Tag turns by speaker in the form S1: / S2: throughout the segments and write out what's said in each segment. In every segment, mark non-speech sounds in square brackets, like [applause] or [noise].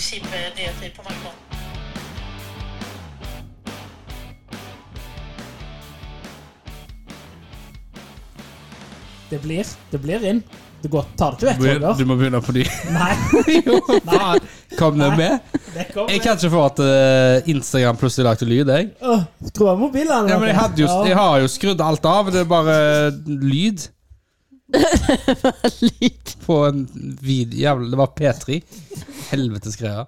S1: kjipe nyheter på mange måter.
S2: Det blir, det blir inn. Det går, tar det ikke vekk,
S3: Du
S2: Roger.
S3: må begynne på ny.
S2: [laughs] Nei,
S3: Jo, faen. Kom det
S2: Nei.
S3: med?
S2: det kommer.
S3: Jeg kan ikke få at eh, Instagram plutselig lagde lyd, jeg.
S2: Åh, Skru av mobilen. eller
S3: Ja, men jeg,
S2: noe.
S3: hadde jo,
S2: Ja.
S3: jeg har jo skrudd alt av. Det er bare eh, lyd
S4: Lyd.
S3: på en vid, jævla Det var P3. Helvetes greier.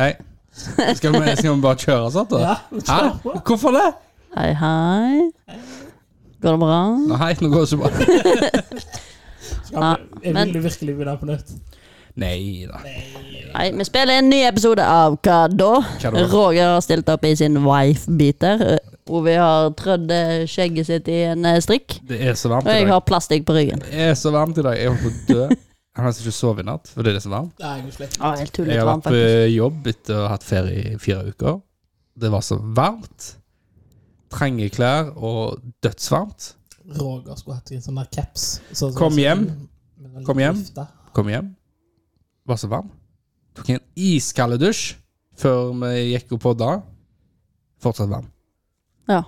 S3: Hei. Skal vi, skal vi bare kjøre sånn, da?
S2: Ja, vi kjører
S3: Hæ?
S2: på.
S3: Hvorfor det?
S4: Hei, hei. Går det bra?
S3: Nei, nå går det så bra.
S2: Ja, men jeg
S4: men-
S2: vil jo virkelig begynne på nytt.
S3: Nei da.
S4: Nei, vi spiller en ny episode av Hva da?
S3: Hva da?
S4: Roger har stilt opp i sin wife-biter. Ove har trødd eh, skjegget sitt i en eh, strikk.
S3: Det er så varmt
S4: Og
S3: i
S4: jeg
S3: dag.
S4: har plastikk på ryggen.
S3: Det er så varmt i dag. Jeg holder på å dø. Jeg har nesten ikke sovet i natt, for det er så varmt.
S2: Nei, jeg er slett.
S4: Å, helt tullet
S3: Jeg har
S4: varmt,
S3: vært eh, på
S4: faktisk.
S3: jobb etter å ha hatt ferie i fire uker. Det var så varmt. Trange klær og dødsvarmt.
S2: Roger skulle hatt en sånn der caps. Så, så-
S3: Kom hjem.
S2: med en
S3: Kom hjem.
S2: vifte.
S3: Kom hjem. Var så varm. Tok en iskald dusj før vi gikk opp på da. Fortsatt varm.
S4: Ja.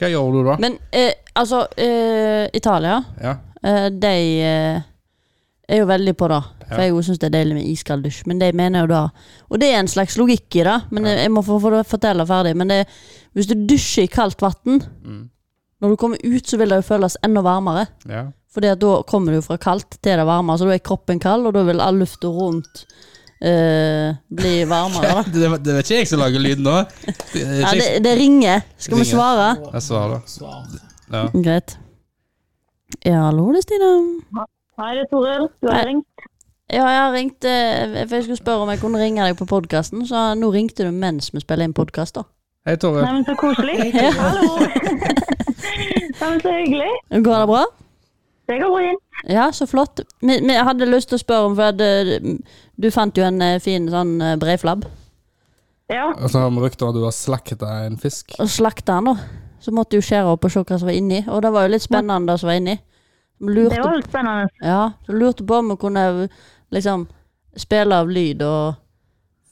S3: Hva gjør du da?
S4: Men eh, altså, eh, Italia,
S3: Ja.
S4: eh, de eh, er jo veldig på det. For
S3: Ja.
S4: jeg syns det er deilig med iskald dusj, men de mener jo da Og det er en slags logikk i det, men jeg- jeg må få, få fortelle ferdig. Men det, hvis du dusjer i kaldt vann,
S3: Mm.
S4: når du kommer ut, så vil det jo føles enda varmere. [laughs]
S3: ja.
S4: Fordi at da kommer du fra kaldt til det varme, så da er kroppen kald, og da vil all lufta rundt eh, bli
S3: [laughs]
S4: varmere. Da.
S3: Det, det, var- det er ikke jeg som lager lyd nå. Det, det er
S4: Ja,
S3: ikke jeg,
S4: det, det ringer. Skal vi
S3: Ringer.
S4: svare?
S5: Ah.
S3: jeg svarer.
S2: Svar.
S3: Ja.
S4: Greit. Ja, hallo, det er Stine.
S5: Hei, det er Toril. Du har
S4: Hei.
S5: ringt.
S4: Ja, jeg har ringt eh, For jeg skulle spørre om jeg kunne ringe deg på podkasten, så nå ringte du mens vi spiller inn podkast, da.
S3: Hei, Tore.
S5: Nei, men så koselig.
S2: Hei,
S5: Hallo. [laughs] Nei, men så hyggelig.
S4: Går det bra?
S5: Det går bra inn.
S4: Ja, så flott. Vi, vi hadde lyst til å spørre om, for at, eh, du fant jo en eh, fin sånn eh, breiflabb.
S5: Ja.
S3: Og så har vi rykter om at du har slakta en fisk.
S4: og slakta han da. Så måtte jo skjære opp og se hva som var inni. Og det var jo litt spennende det som var inni.
S5: Det var
S4: Lurte,
S5: litt spennende.
S4: ja, så lurte på om vi kunne liksom spille av lyd og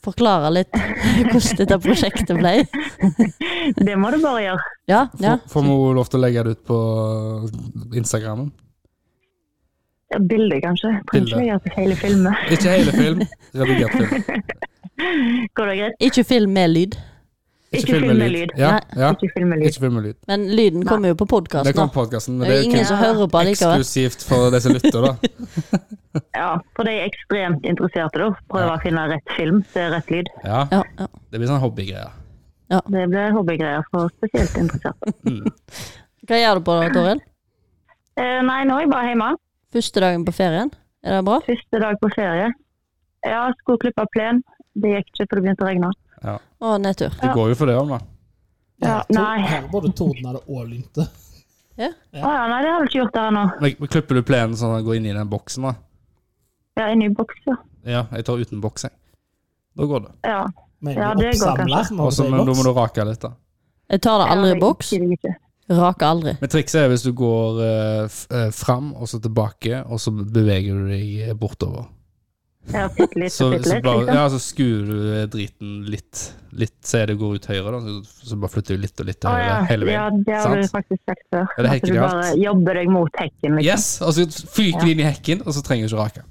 S4: forklare litt [laughs] hvordan dette prosjektet ble.
S5: Det må du bare gjøre.
S4: Ja, ja.
S3: Får- Får vi jo lov til å legge det ut på Instagramen?
S5: Ja, Bilde, kanskje. Trenger
S3: Bilde.
S5: ikke legge til altså, hele filmen. [laughs]
S3: Ikke hele film. Redigert film.
S5: Går det greit?
S4: Ikke film med lyd,
S5: Ikke film med lyd.
S3: Ja, ja.
S5: Ikke film med lyd.
S3: Ikke film med lyd.
S4: men lyden kommer jo på
S3: Det kom
S4: podkasten.
S3: podkasten, men
S4: Det er
S3: det
S4: jo ingen
S3: er
S4: som hører på
S3: kun
S4: likevel.
S3: eksklusivt for de som lytter,
S5: [laughs]
S3: da.
S5: Ja, for de er ekstremt interesserte, da. Prøve
S3: Ja.
S5: å finne rett film til rett lyd.
S3: Ja,
S4: Ja, ja.
S3: Det blir sånn hobbygreier.
S5: Det blir hobbygreier for spesielt interesserte.
S4: Hva gjør du på da, Toril?
S5: Eh, nei, nå er jeg bare hjemme.
S4: Første dagen på ferien? Er det bra?
S5: Første dag på ferie. Ja, skulle klippe plen. Det gikk ikke, for det begynte å regne.
S4: Å, nedtur.
S3: Det går jo for det òg, da.
S5: Ja,
S2: Her-
S5: nei.
S2: Her både tordna det og lynte.
S5: Å ja, nei, det har du ikke gjort det her nå.
S3: Men men klipper du plenen sånn at den går inn i den boksen, da?
S5: Ja, inne i boks, ja.
S3: Ja, jeg tar uten boks, jeg. Da går det.
S5: Ja.
S2: Men
S5: Ja,
S2: vi
S5: det går
S2: oppsamler,
S5: kanskje.
S2: må vi
S3: Og så-
S2: si
S3: men da
S2: boks.
S3: må du rake litt, da.
S4: Jeg tar det aldri
S5: Ja,
S4: i boks.
S5: gidder ikke.
S4: Raker aldri.
S3: Men trikset er hvis du går eh, f- eh, fram, og så tilbake, og så beveger du deg eh, bortover.
S4: [laughs]
S5: Ja, sitte litt
S3: Så,
S5: og sitte
S3: så,
S5: litt.
S3: bare,
S5: Liksom.
S3: ja, så skuer du eh, driten litt, litt Se det går ut høyre, da, så, så bare flytter du litt og litt til
S5: Å,
S3: høyre
S5: ja.
S3: hele
S5: ja,
S3: veien.
S5: det har du
S3: Sant?
S5: faktisk sagt før.
S3: Ja, det er
S5: At du
S3: hekkegalt.
S5: bare jobber deg mot hekken. Liksom.
S3: Yes, og så fyker du inn i hekken, og så trenger du ikke rake.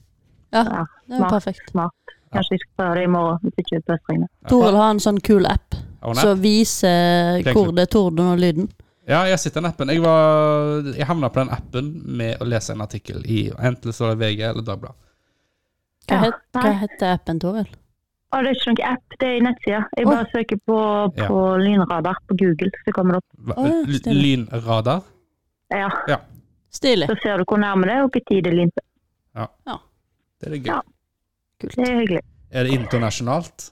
S4: Ja,
S5: Ja,
S4: det er jo
S5: smart.
S4: perfekt.
S5: Kanskje vi skal prøve det i morgen hvis ikke det pøsregner.
S4: Toril har en sånn kul app
S3: Har hun app?
S4: som viser
S3: Tenk
S4: hvor
S3: litt.
S4: det er torden og lyden.
S3: Ja, jeg sitter i den appen. Jeg, var, jeg havna på den appen med å lese en artikkel i enten så var det VG eller Dagbladet.
S4: Hva,
S5: Ja.
S4: het, hva
S5: Nei.
S4: heter appen, Toril?
S5: Å, det er ikke noen app, det er i nettsida. Jeg
S4: Å.
S5: bare søker på,
S3: Ja.
S5: på lynradar på Google, så kommer det opp.
S3: Hva-
S4: Å, ja,
S3: l-
S4: stemmer.
S3: Lynradar.
S5: Ja,
S4: Stilig.
S5: Så ser du hvor nærme det er, og hvor tid det lynte.
S3: Det er det gøy.
S5: Ja. Det
S4: Kult.
S5: er hyggelig.
S3: Er det internasjonalt?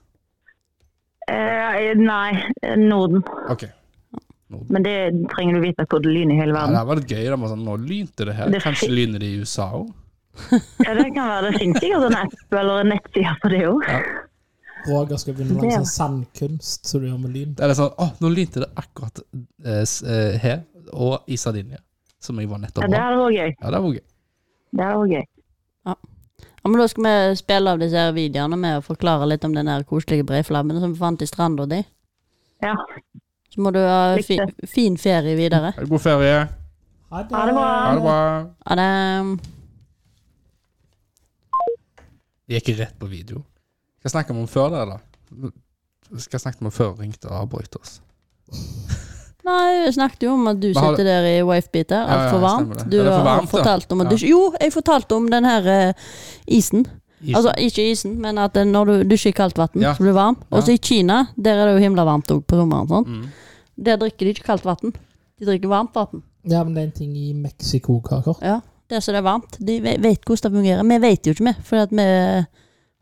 S5: Eh, nei, eh, Norden.
S3: OK.
S5: Men det trenger du vite hvor det lyner i
S3: Ja,
S5: hele verden.
S3: det var litt gøy. Det var sånn, nå lynte det her.
S5: Det er
S3: Kanskje
S5: fint.
S3: lyner det i USA òg?
S5: Ja, det kan være. Det finnes sikkert en app eller en nettside for det òg.
S2: Roger skal begynne å lage
S5: Det-
S2: sånn sandkunst som du gjør med lyn.
S3: Det er litt sånn Å, nå lynte det akkurat eh, s- eh, her, og i Sardinia, som jeg var
S5: Ja,
S3: nettopp
S5: det
S3: var.
S5: hadde vært gøy.
S3: Ja, det var gøy.
S5: Det hadde vært gøy.
S4: Ja, men Da skal vi spille av disse her videoene med å forklare litt om den her koselige breiflabben som vi fant i stranda di.
S5: Ja.
S4: Så må du ha fi, fin ferie videre.
S3: Ha en God ferie.
S2: Ha
S5: Ha det bra.
S3: Ha det bra.
S4: Ja, det,
S3: Det gikk rett på video. Hva snakka vi om før det, eller? Hva snakket vi om før ringte og avbrøt oss?
S4: nei, vi snakket jo om at du
S3: Men har
S4: sitter der i wifebeater,
S3: Ja, ja,
S4: altfor varmt.
S3: stemmer det.
S4: Du
S3: Er det for
S4: har
S3: varmt, da?
S4: fortalt om at
S3: Ja.
S4: du ikke Jo, jeg fortalte om den her eh, isen. Altså ikke isen, men at eh, når du dusjer i kaldt vann,
S3: Ja.
S4: så blir det varmt.
S3: Ja.
S4: Også i Kina, der er det jo himla varmt òg på sommeren. Sånn.
S3: Mm.
S4: Der drikker de ikke kaldt vann. De drikker varmt vann.
S2: Ja, men det er en ting i Mexico-kaker.
S4: Ja, der som det er varmt. De ve- vet hvordan det fungerer. Vi vet jo ikke, vi. For at vi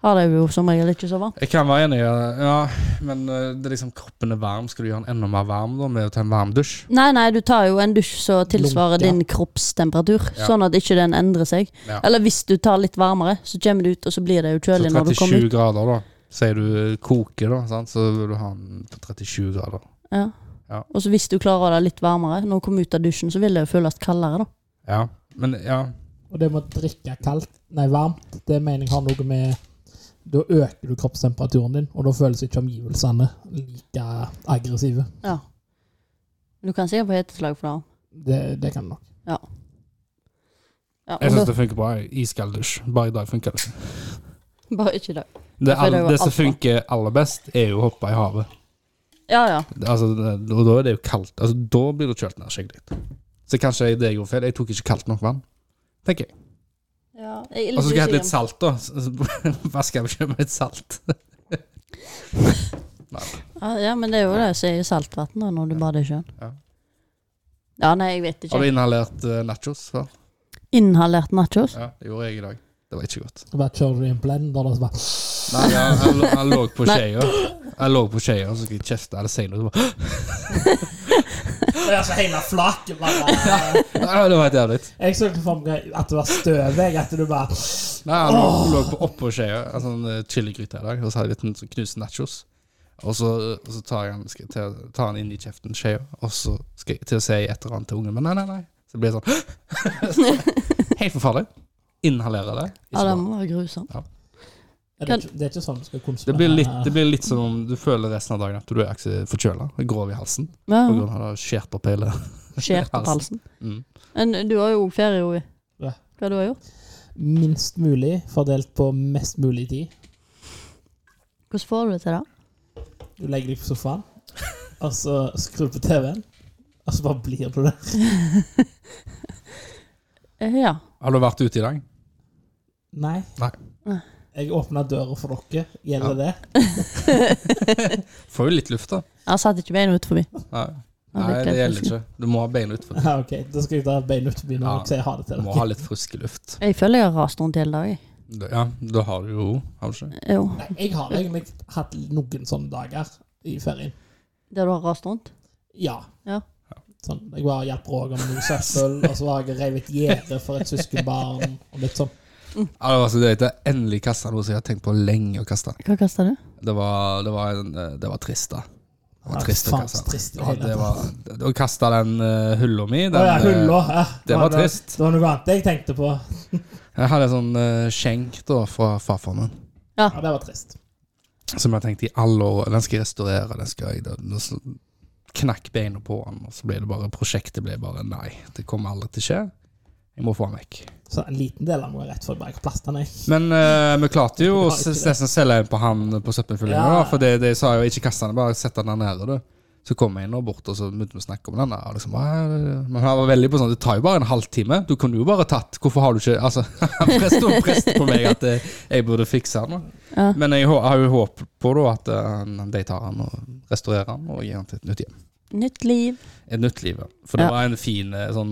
S4: har det jo som regel ikke så varmt.
S3: Jeg kan være enig i det, ja, men eh, det er liksom kroppen er varm. Skal du gjøre den enda mer varm da, med å ta en varm dusj?
S4: Nei, nei, du tar jo en dusj som tilsvarer
S2: Lunke, ja.
S4: din kroppstemperatur.
S3: Ja.
S4: Sånn at ikke den endrer seg.
S3: Ja.
S4: Eller hvis du tar litt varmere, så kommer du ut, og så blir det jo
S3: Så
S4: kjølig når du kommer
S3: 37
S4: ut.
S3: grader, da. Sier du koker, da, sant? så vil du ha den på 37 grader.
S4: Ja.
S3: Ja.
S4: Og så hvis du klarer det litt varmere, når du kommer ut av dusjen, så vil det jo føles kaldere, da.
S3: Ja, men ja.
S2: Og det med å drikke kaldt, nei varmt, det mener jeg har noe med Da øker du kroppstemperaturen din, og da føles ikke omgivelsene like aggressive.
S4: Ja. Du kan sikkert få heteslag for det.
S2: Det, det kan du nok.
S4: Ja, og da-
S3: Jeg syns det funker bra. Iskald dusj. Bare i dag funker det.
S4: [laughs] Bare ikke i dag.
S3: Det,
S4: For det er
S3: all,
S4: jo
S3: det som
S4: alt bra.
S3: funker aller best, er jo å hoppe i havet.
S4: Ja, ja.
S3: Det- Altså, det, og da er det jo kaldt. Altså, da blir du kjølt ned skikkelig. Så kanskje jeg- det jeg gjorde feil. Jeg tok ikke kaldt nok vann, tenker jeg.
S4: ja. jeg er
S3: Og så skal jeg ha
S4: usikker.
S3: litt salt, da. Så- så [laughs] Vasker jeg ikke med litt salt.
S4: Ja, ja, men det er jo det som er i saltvann da, når du bader i sjøen.
S3: Ja.
S4: Ja, nei, jeg vet
S3: Har
S4: ikke.
S3: du inhalert eh, nachos før?
S4: Inhalert nachos?
S3: Ja, det gjorde jeg i dag. Det var ikke godt.
S2: Bare kjører du i en blender, og så bare
S3: Nei, jeg, jeg, lå- jeg lå på
S4: Nei.
S3: skjea. Jeg lå på skjea, så skulle jeg kjefte eller si noe. så bare, [gasps]
S2: Og jeg så altså hele flaket [laughs] bare
S3: «Nei, Det var helt jævlig.
S2: Jeg så ikke for meg at det var støv, jeg. At du bare
S3: Nei, han lå, lå på oppå skjea, en sånn eh, chiligryte i dag, og så hadde jeg litt sånn knust nachos. Og så, eh, og så tar jeg han, skal jeg til, å- tar han inn i kjeften, skjea, og så skal jeg til å si et eller annet til ungen, men nei, nei, nei. Så blir det sånn [gasps] Helt forferdelig. Inhalerer det.
S4: Ja,
S3: Ikke
S4: det
S3: bra.
S4: må være grusomt.
S2: Ja, det, er ikke, det er ikke sånn du skal konsumere
S3: Det blir, litt, det blir litt som om du føler resten av dagen at du er akse- forkjøla, grov i halsen,
S4: Ja,
S3: på
S4: ja.
S3: grunn av det har skjært opp hele
S4: Skjer på
S3: Halsen.
S4: halsen.
S3: mm.
S4: Men du har jo også ferie, Ovi.
S2: Ja.
S4: Hva du har gjort?
S2: Minst mulig fordelt på mest mulig tid.
S4: Hvordan får du det til det?
S2: Du legger deg på sofaen, og så skrur du på TV-en, og så bare blir du der.
S4: Eh, Ja.
S3: Har du vært ute i dag?
S2: Nei.
S3: Nei.
S2: Jeg åpna døra for dere. Gjelder det? [laughs]
S3: Får jo litt luft, da.
S4: Jeg satt ikke beina ut forbi.
S3: Nei,
S4: Ja,
S3: nei det
S4: klart jeg
S3: gjelder
S4: skulle.
S3: ikke. Du må ha beina utfor.
S2: Ja, ok, Da skal jeg ta beina ut forbi når
S3: Ja.
S2: jeg sier ha det til
S3: Du må
S2: dere.
S3: ha litt fruskeluft.
S4: Jeg føler jeg har rast rundt hele dagen.
S3: Da- Ja, da har du jo Har du ikke?
S4: jeg. Jo.
S2: Nei, jeg har egentlig hatt noen sånne dager i ferien.
S4: Der du har rast rundt?
S2: Ja.
S4: Ja.
S2: Sånn, jeg var og hjalp Roger med noe søppel, og så har jeg revet et gjerde for et søskenbarn. og litt sånn.
S3: Ja, altså, det var så drøyt. Jeg endelig kasta noe som jeg har tenkt på lenge å kaste.
S4: Hva kasta du?
S3: Det var, det var, en, eh, det var trist, da. Det
S2: Ja,
S3: var trist å
S2: faen,
S3: kaste.
S2: så trist i det
S3: Ja,
S2: hele tatt.
S3: det var, det- å kaste den eh, hylla mi den,
S2: Å ja,
S3: eh,
S2: hulla. Ja.
S3: Det var trist.
S2: Det var noe annet jeg tenkte på.
S3: Jeg hadde en sånn eh, skjenk da fra farfaren min
S2: Ja, det var trist.
S3: som jeg tenkte i alle år Den skal jeg restaurere. Den skal jeg, den, og så knakk beina på den, og så ble det bare Prosjektet ble bare nei. Det kommer aldri til å skje. Jeg må få den vekk.
S2: Så en liten del av meg er rett for bare plastene.
S3: Men eh, vi klarte jo å
S2: Ja, ikke
S3: s-
S2: det.
S3: nesten selge en på han på søppelfyllinga.
S2: Ja.
S3: da, For det, det sa jeg jo ikke kast den, bare sett den der nede, du. Så kom jeg inn og bort, og så begynte vi å snakke om den. der, og liksom, «Hva er det?» Men han var veldig på sånn Det tar jo bare en halvtime. Du kunne jo bare tatt Hvorfor har du ikke Altså, [laughs] Han prest og prest på meg at eh, jeg burde fikse den. da.
S4: Ja.
S3: Men jeg hå- har jo håp på da at eh, de tar den og restaurerer den og gir den til et nytt hjem.
S4: Nytt liv.
S3: Et nytt liv, ja. For det
S4: Ja.
S3: var en fin eh, sånn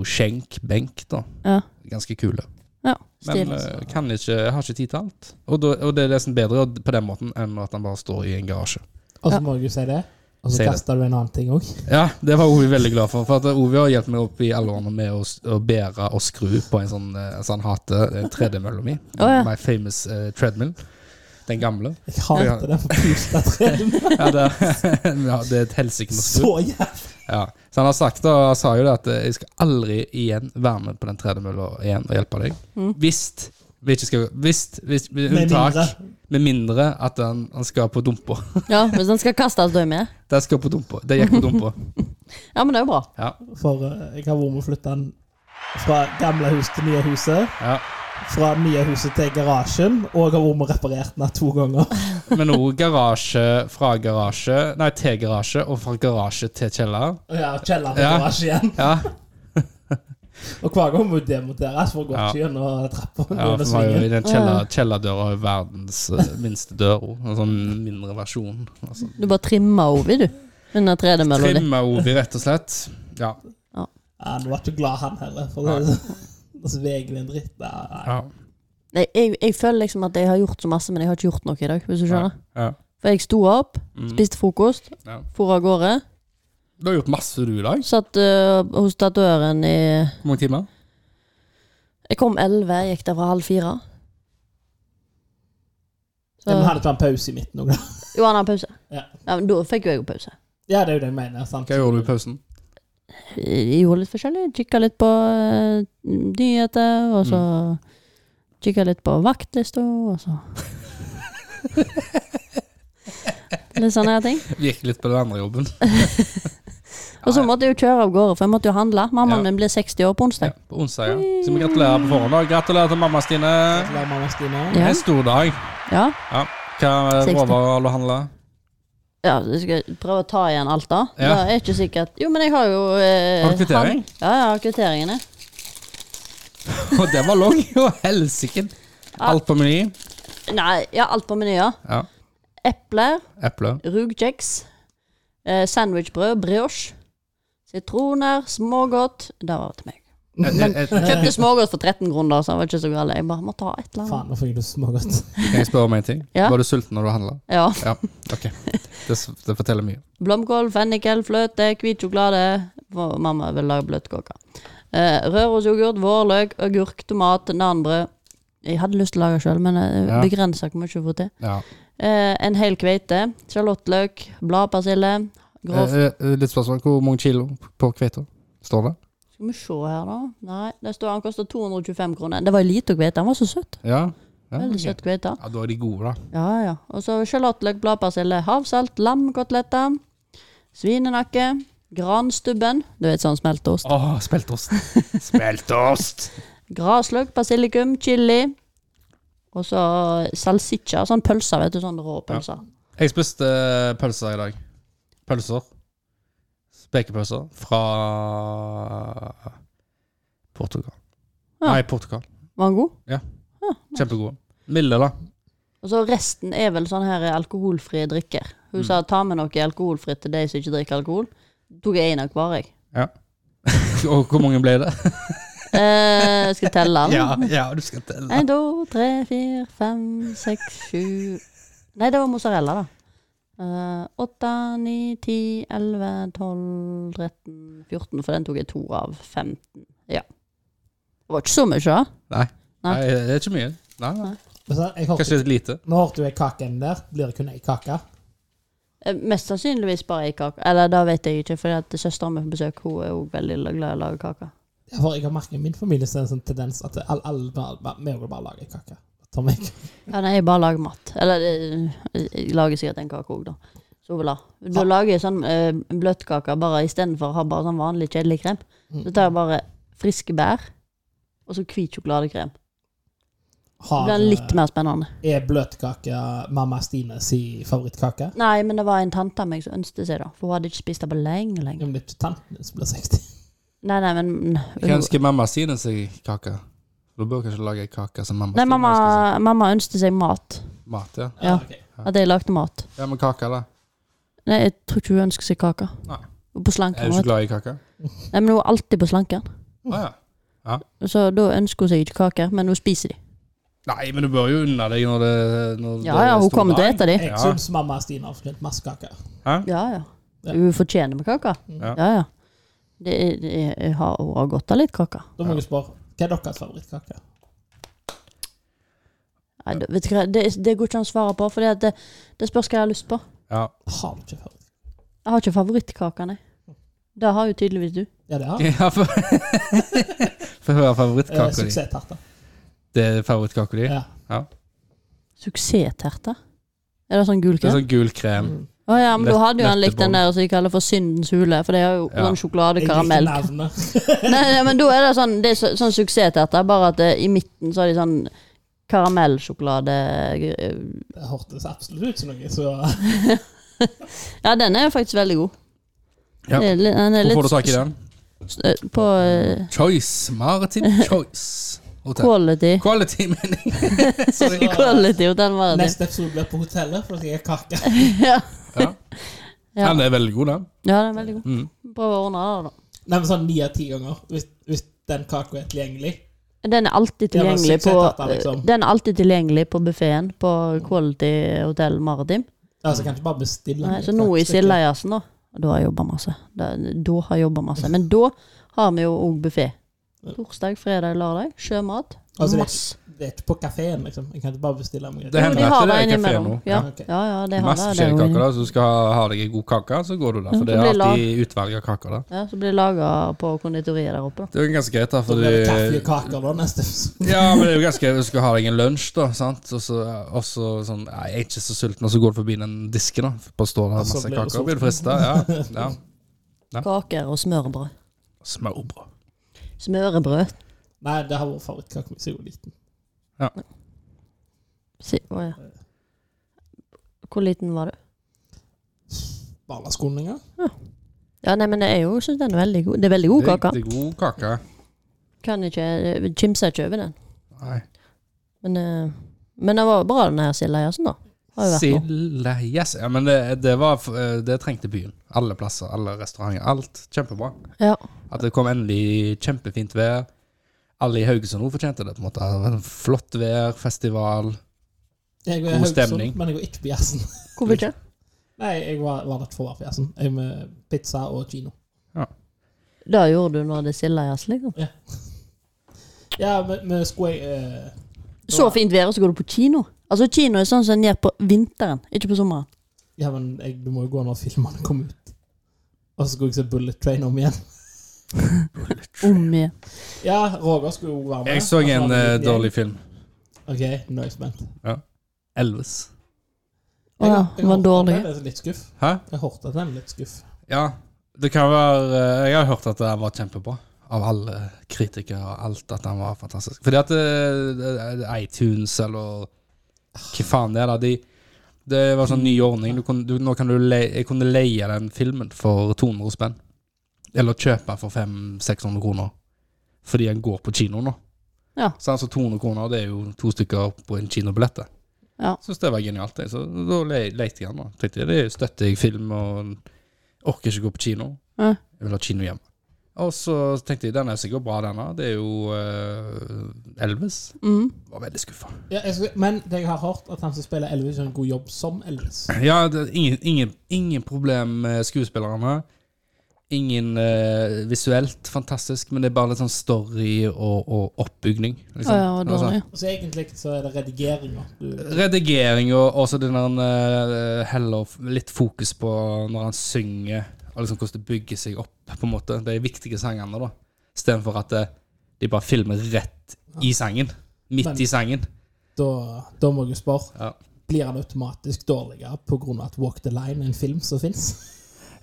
S3: radioskjenk-benk, da.
S4: Ja.
S3: Ganske kule.
S4: ja.
S3: Men
S4: Stilig.
S3: eh, kan ikke, jeg har ikke tid til alt. Og, da, og det er nesten bedre på den måten enn at han bare står i en garasje.
S2: Og så
S4: Ja.
S2: må jeg jo si det. Og
S3: Si
S2: så
S3: det.
S2: kaster du en annen ting òg.
S3: Ja, det var Ovi veldig glad for. For at Ovi har hjulpet meg opp i alle årene med å, s- å bære og skru på en sånn eh, som han hater, eh, tredemølla mi.
S4: Å, ja.
S3: My famous eh, treadmill. Den gamle.
S2: Jeg hater den forpusta
S3: [laughs]
S2: treen.
S3: Ja, det, [laughs] ja, det er et helsike med å skru.
S2: Så jævlig.
S3: Ja. Så han har sagt da, han sa jo det at eh, jeg skal aldri igjen være med på den tredemølla igjen og hjelpe deg. Hvis vi ikke skal Hvis, hvis med
S2: Med
S3: unntak
S2: mindre.
S3: Med mindre at han, han skal på dumpa.
S4: Ja, Hvis den skal kastes, da er jeg med.
S3: De skal på dumpa. De gikk på dumpa.
S4: Ja, men det er jo bra.
S3: Ja,
S2: For eh, jeg har vært med å flytte den fra gamle hus til nye huset.
S3: ja.
S2: Fra nye huset til garasjen, og jeg har vært med og reparert den her to ganger. [laughs]
S3: Men òg garasje fra garasje Nei, til garasje, og fra garasje til kjeller.
S2: Og ja, kjelleren til
S3: Ja.
S2: garasje igjen.
S3: Ja,
S2: Og hver gang må demonteres for å gå
S3: Ja.
S2: gjennom trappa.
S3: ja
S2: under
S3: for vi har jo
S2: svingen.
S3: i den kjeller, kjellerdøra er jo verdens eh, minste dør òg. En sånn mindre versjon. Altså,
S4: Du bare trimmer Ovi, du. Under 3D-mølla di.
S3: Trimma Ovi, rett og slett. Ja.
S2: Ja, Han var ikke glad, han heller. For det, [laughs] det sveger vi en dritt. Nei, nei.
S3: ja.
S4: Nei, Jeg, jeg føler liksom at jeg har gjort så masse, men jeg har ikke gjort noe i dag. hvis du skjønner.
S3: ja.
S4: For jeg sto opp,
S3: Mm.
S4: spiste frokost,
S3: Ja.
S4: for av gårde.
S3: Du har gjort masse, du, i dag.
S4: Satt eh, hos tatøren i
S3: Hvor mange timer?
S4: Jeg kom elleve, gikk der fra halv fire. Så,
S2: Men hadde ikke han pause i midten òg, da?
S4: jo, han har pause.
S2: Ja.
S4: men da fikk jo jeg jo pause.
S2: [laughs] Ja, det er jo det jeg mener. sant?
S3: Hva gjorde du i pausen?
S4: Jeg gjorde litt forskjellig. Kikka litt på eh, nyheter, og så
S3: Mm.
S4: kikka litt på vaktlista, og
S3: [laughs]
S4: så Litt sånne her ting.
S3: Gikk litt på den andre jobben.
S4: Og så måtte jeg jo kjøre av gårde, for jeg måtte jo handle. Mammaen
S3: Ja.
S4: min blir 60 år på onsdag.
S3: Ja, på onsdag, ja. Så vi gratulerer på forhånd. da. Gratulerer til mamma, Stine.
S2: La mamma Stine.
S4: Ja.
S3: Det er en stor dag.
S4: Ja.
S3: Hva eh,
S4: 60.
S3: råvarer har du handla?
S4: ja, så skal jeg prøve å ta igjen alt, da.
S3: Ja.
S4: Det er ikke sikkert Jo, men jeg har jo eh,
S3: Har du kvittering?
S4: hand- Ja, jeg har kvitteringene.
S3: [laughs] Og den var lang! Og helsike! Alt på meny.
S4: Nei, ja, alt på menyer.
S3: Ja.
S4: Epler,
S3: Eple.
S4: rugkjeks, eh, sandwichbrød, brioche, sitroner, smågodt. Det var til meg.
S3: Et, et, et,
S4: Kjøpte smågodt for 13 kroner, så det var ikke så galt. Jeg bare må ta et eller annet.
S2: Faen, nå fikk du smågodt.
S3: [laughs] kan jeg spørre om en ting?
S4: Ja.
S3: Var du sulten når du handla?
S4: Ja.
S3: Ja, ok. Det, s- det forteller mye.
S4: Blomkål, fennikel, fløte, hvit sjokolade. Vår Mamma vil lage bløtkake. Eh, Rørosyoghurt, vårløk, agurk, tomat, nanbrød. Jeg hadde lyst til å lage sjøl, men
S3: Ja.
S4: ja. begrensa hvor mye jeg får til.
S3: Ja.
S4: Eh, en hel kveite, sjalottløk, bladpersille, grov
S3: Eh, eh, litt spørsmål. Hvor mange kilo på kveita? Står det?
S4: Skal vi se her, da. Nei, det står han koster 225 kroner. Det var en liten kveite, han var så søt.
S3: Ja. Ja,
S4: Veldig
S3: ok.
S4: søt kveite.
S3: ja, da er de gode, da.
S4: Ja, ja. Og så sjalottløk, bladpersille, havsalt, lammkoteletter, svinenakke, granstubben Du vet sånn smelteost.
S3: Å,
S4: [laughs]
S3: speltost. Speltost!
S4: Grasløk, basilikum, chili. Og så salsiccia. Sånn pølser, vet du. Sånn rå pølser.
S3: Jeg spiste eh, pølser i dag. Pølser. Spekepølser fra Portugal.
S4: Ja.
S3: Nei, Portugal.
S4: Var den god?
S3: Kjempegode. Milde, da.
S4: Og så resten er vel sånn her alkoholfrie drikker. Hun sa ta med noe alkoholfritt til de som ikke drikker alkohol. Tok jeg én av hver, jeg.
S3: [laughs] Og hvor mange ble det?
S4: Eh, skal jeg telle den?
S3: [laughs] ja, du skal telle.
S4: En, to, tre, fire, fem, seks, sju Nei, det var mozzarella, da. Eh, Åtte, ni, ti, elleve, tolv, tretten, fjorten. For den tok jeg to av femten. Ja. Det var ikke så mye, da.
S3: Nei.
S4: Nei.
S3: Nei, det er ikke mye. Nei, nei.
S2: Men så, jeg hørte,
S3: Kanskje litt lite.
S2: nå hørte jo jeg kaken der. Blir det kun ei kake?
S4: Eh, Mest sannsynligvis bare ei kake. Eller det vet jeg ikke, for søstera mi på besøk hun er også veldig la- glad i å lage kaker.
S2: Ja, for jeg har merket i min familie så er det en sånn tendens at alle, alle bare, bare, vi må bare lager ei kake. Ta meg.
S4: Ja, nei, jeg bare lager mat. Eller eh, jeg lager sikkert en kake òg, da. Så hun vil ha. Da lager jeg sånn eh, bløtkake bare istedenfor å ha bare sånn vanlig kjedelig krem.
S3: Mm.
S4: Så tar jeg bare friske bær og så hvit sjokoladekrem. Det
S2: Har, eh,
S4: blir
S3: Ah.
S4: litt mer spennende.
S2: Er bløtkake mamma Stine si favorittkake?
S4: Nei, men det var en tante av meg som ønsket seg det, for hun hadde ikke spist det på lenge,
S2: Ja,
S4: lenge.
S2: men det er ikke tanten din som blir 60.
S4: Nei, nei, men
S3: Hva ønsker mamma sine seg kake? Du bør kanskje lage ei kake som mamma
S4: Nei,
S3: Stine
S4: mamma,
S3: ønsker
S4: mamma ønsket seg mat.
S3: seg. Mat, ja.
S4: [laughs] Ja.
S2: ok.
S4: At jeg lagde mat.
S3: ja, men kake, da?
S4: Nei, jeg tror ikke hun ønsker seg kake.
S3: Nei.
S4: Hun er På
S3: Er
S4: slanken. vet
S3: du
S4: du.
S3: ikke glad i kake?
S4: Nei, men hun er alltid på slanken.
S3: Å ja.
S4: Så da ønsker hun seg ikke kake, men hun spiser de.
S3: Nei, men du bør jo unne deg når det når
S4: Ja
S3: det er
S4: ja, hun
S3: stor
S4: kommer til å
S3: dag.
S4: ete de.
S2: Jeg
S3: Ja.
S2: syns mamma Stine har fortjent masse kake.
S4: Ja ja.
S2: Ja.
S4: Hun fortjener med kake.
S3: Ja.
S4: Ja ja. Det, er- det, er- jeg har, hun har godt av litt kake.
S2: Da må jeg spørre hva er deres favorittkake?
S4: Nei, det- vet du hva, det, det går ikke an å svare på, for det, det spørs hva jeg har lyst på.
S3: Ja. [laughs]
S2: Har du
S4: Jeg har ikke
S2: ikke favorittkake?
S4: favorittkake, nei. Det har jo tydeligvis du.
S2: Ja, det har jeg.
S3: ja for, [laughs] Få høre
S2: Eh,
S3: favorittkaka di.
S2: Suksesstarte.
S3: Det er favorittkaka di?
S2: Ja.
S4: Suksessterte? Er det sånn gul
S3: Det er
S4: krem?
S3: sånn gul
S4: Mm.
S3: krem.
S4: Å ja, men da
S3: nøtt-
S4: hadde jo han likt den
S3: nøtteboll.
S4: der som de kaller for syndens hule, for det er jo
S3: Ja.
S4: sånn
S2: Jeg liker
S4: sjokoladekaramell.
S2: navnet.
S4: Nei, nei, men da er det sånn Det er så, sånn suksessterte, bare at eh, i midten så har de sånn karamellsjokolade eh,
S2: Det hørtes absolutt ut som noe, så
S4: Ja, den er faktisk veldig god.
S3: Ja.
S4: Det er litt- den er
S3: Hvor
S4: litt
S3: får du tak i den? Mm.
S4: s- s- På eh,
S3: Choice.
S4: [laughs]
S3: Maritim Choice. Hotel.
S2: [laughs]
S4: quality.
S3: Quality, mener jeg. Sorry.
S4: [laughs] Quality og den var det.
S2: [laughs] Neste episode blir på hotellet, for jeg er kake. [laughs]
S4: Ja.
S3: Ja.
S4: [laughs] Ja.
S3: Den er veldig god, den.
S4: ja, den er veldig god.
S3: Mm.
S4: Prøv å ordne det, da.
S2: Nei, men sånn ni av ti ganger, hvis, hvis den kaka er tilgjengelig.
S4: Den er alltid
S2: Ja, men
S4: tilgjengelig på
S2: suksesstette, liksom.
S4: Den er alltid tilgjengelig på buffeen på Quality Hotel Maritim.
S2: Altså, kan ikke bare bestille den.
S4: Nei, så nå i Sildajazzen, da. Da har jeg jobba masse. Da, da har jeg jobba masse. Men da har vi jo òg buffé. Torsdag, fredag, lørdag. Sjømat.
S2: Altså, det-
S4: Masse.
S2: Det er ikke på kafeen, liksom. Jeg kan ikke bare bestille meg.
S3: Det
S4: Jo,
S3: hender
S4: de har
S3: at det
S4: det
S3: er kafé
S4: innimellom.
S3: nå.
S4: Ja,
S2: Ok.
S4: ja, ja, de har det. det.
S3: Masse forskjellige
S4: er
S3: kaker.
S4: jo-
S3: da Så du skal ha, ha deg en god kake, så går du der.
S4: Ja,
S3: For
S4: så
S3: det er
S4: blir det
S3: alltid utvalg av kaker der.
S4: Ja, så blir det laga på konditoriet der oppe, da.
S3: Det er jo ganske greit, da.
S2: Så blir det kaffe
S3: Fordi,
S2: og kaker da, neste episode.
S3: ja, men det er jo ganske greit hvis du skal ha deg en lunsj, da. Sant? Og så og så sånn ja, Jeg er ikke så sulten, og så går du forbi den disken, da. På står
S2: Og
S3: der
S2: så
S3: masse
S2: blir du
S3: kaker.
S2: sulten.
S3: Blir du frista? Ja. ja.
S4: Kaker og smørbrød.
S3: Smørbrød.
S4: Smørebrød.
S2: Nei, det har vært favorittkaka mi siden jeg var liten.
S4: Si, å, ja. Hvor liten var du?
S2: Barneskolen en gang.
S4: Ja, nei, men jeg er jo- synes den er veldig god. Det er veldig god
S3: Det-
S4: kake.
S3: Det er god kake.
S4: Kan ikke eh, kimse ikke over den.
S3: Nei.
S4: Men, eh, men den var jo bra, den her Silda Jazzen, da. Har jo vært nå.
S3: Silda yes. Ja, men det, det var eh, Det trengte byen. Alle plasser, alle restauranter. Alt. Kjempebra.
S4: Ja.
S3: At det kom endelig kjempefint vær. Alle i Haugesund også fortjente det. på en måte Det var en Flott vær, festival.
S2: Jeg
S3: God
S2: er i Haugesund,
S3: stemning.
S2: men jeg går ikke på jazzen. [laughs]
S4: Hvorfor ikke?
S2: Nei, jeg var, var litt for varm for jazzen. Jeg med pizza og kino.
S4: Det gjorde du når det er Silda Jazz, liksom.
S2: Ja, men men skulle jeg eh,
S4: Så fint vær, og så går du på kino. Altså, kino er sånn som en gjør på vinteren, ikke på sommeren.
S2: Ja, men jeg, du må jo gå når filmene kom ut. Og så skulle jeg se Bullet Train om igjen.
S4: Om igjen.
S2: Ja, Roger skulle jo være med.
S3: Jeg så
S2: Og var
S3: en
S2: det
S3: eh,
S2: liten
S3: dårlig
S2: gjeng.
S3: film.
S2: Ok, nå er jeg spent.
S3: Elvis.
S4: Å ja,
S2: Jeg- jeg
S4: den var
S2: hørte at
S4: dårlig.
S2: Den er litt skuff.
S3: Hæ?
S2: Jeg hørte at den er litt skuff.
S3: Ja. Det kan være eh, Jeg har hørt at den var kjempebra. Av alle kritikere og alt. At den var fantastisk. Fordi at eh, eh, iTunes eller hva faen det er, da. De, det var sånn ny ordning. Du kunne, du, nå kan du le, jeg kunne leie den filmen for 200 spenn. Eller kjøpe for 500-600 kroner. Fordi den går på kino nå.
S4: Ja.
S3: Så altså 200 kroner, det er jo to stykker på en kinobillett. det.
S4: Ja.
S3: Syns det var genialt. Jeg. Så da le, lette jeg den. da. Tenkte jeg, det er jo støtter jeg film, og orker ikke gå på kino.
S4: Ja.
S3: Jeg vil ha kino hjemme. Og så tenkte jeg, den er sikkert bra, denne. Det er jo eh, Elvis.
S4: Mm.
S3: Var veldig skuffa.
S2: Ja, jeg skulle, men det jeg har hørt, at han som spiller Elvis, gjør en god jobb som Elvis.
S3: Ja, det, er ingen, ingen, ingen problem med skuespillerne. Ingen eh, visuelt fantastisk, men det er bare litt sånn story og, og oppbygning.
S4: Å ja, den var
S3: Altså,
S4: dårlig.
S2: Så egentlig så er det redigeringa. Du-
S3: Redigering og også den der eh, heller f- litt fokus på når han synger, og liksom hvordan det bygger seg opp, på en måte. De viktige sangene, da. Istedenfor at eh, de bare filmer rett i sangen. Midt
S2: Men-
S3: i sangen.
S2: Da, da må jeg jo spørre.
S3: Ja.
S2: Blir han automatisk dårligere pga. at Walk the Line er en film som fins?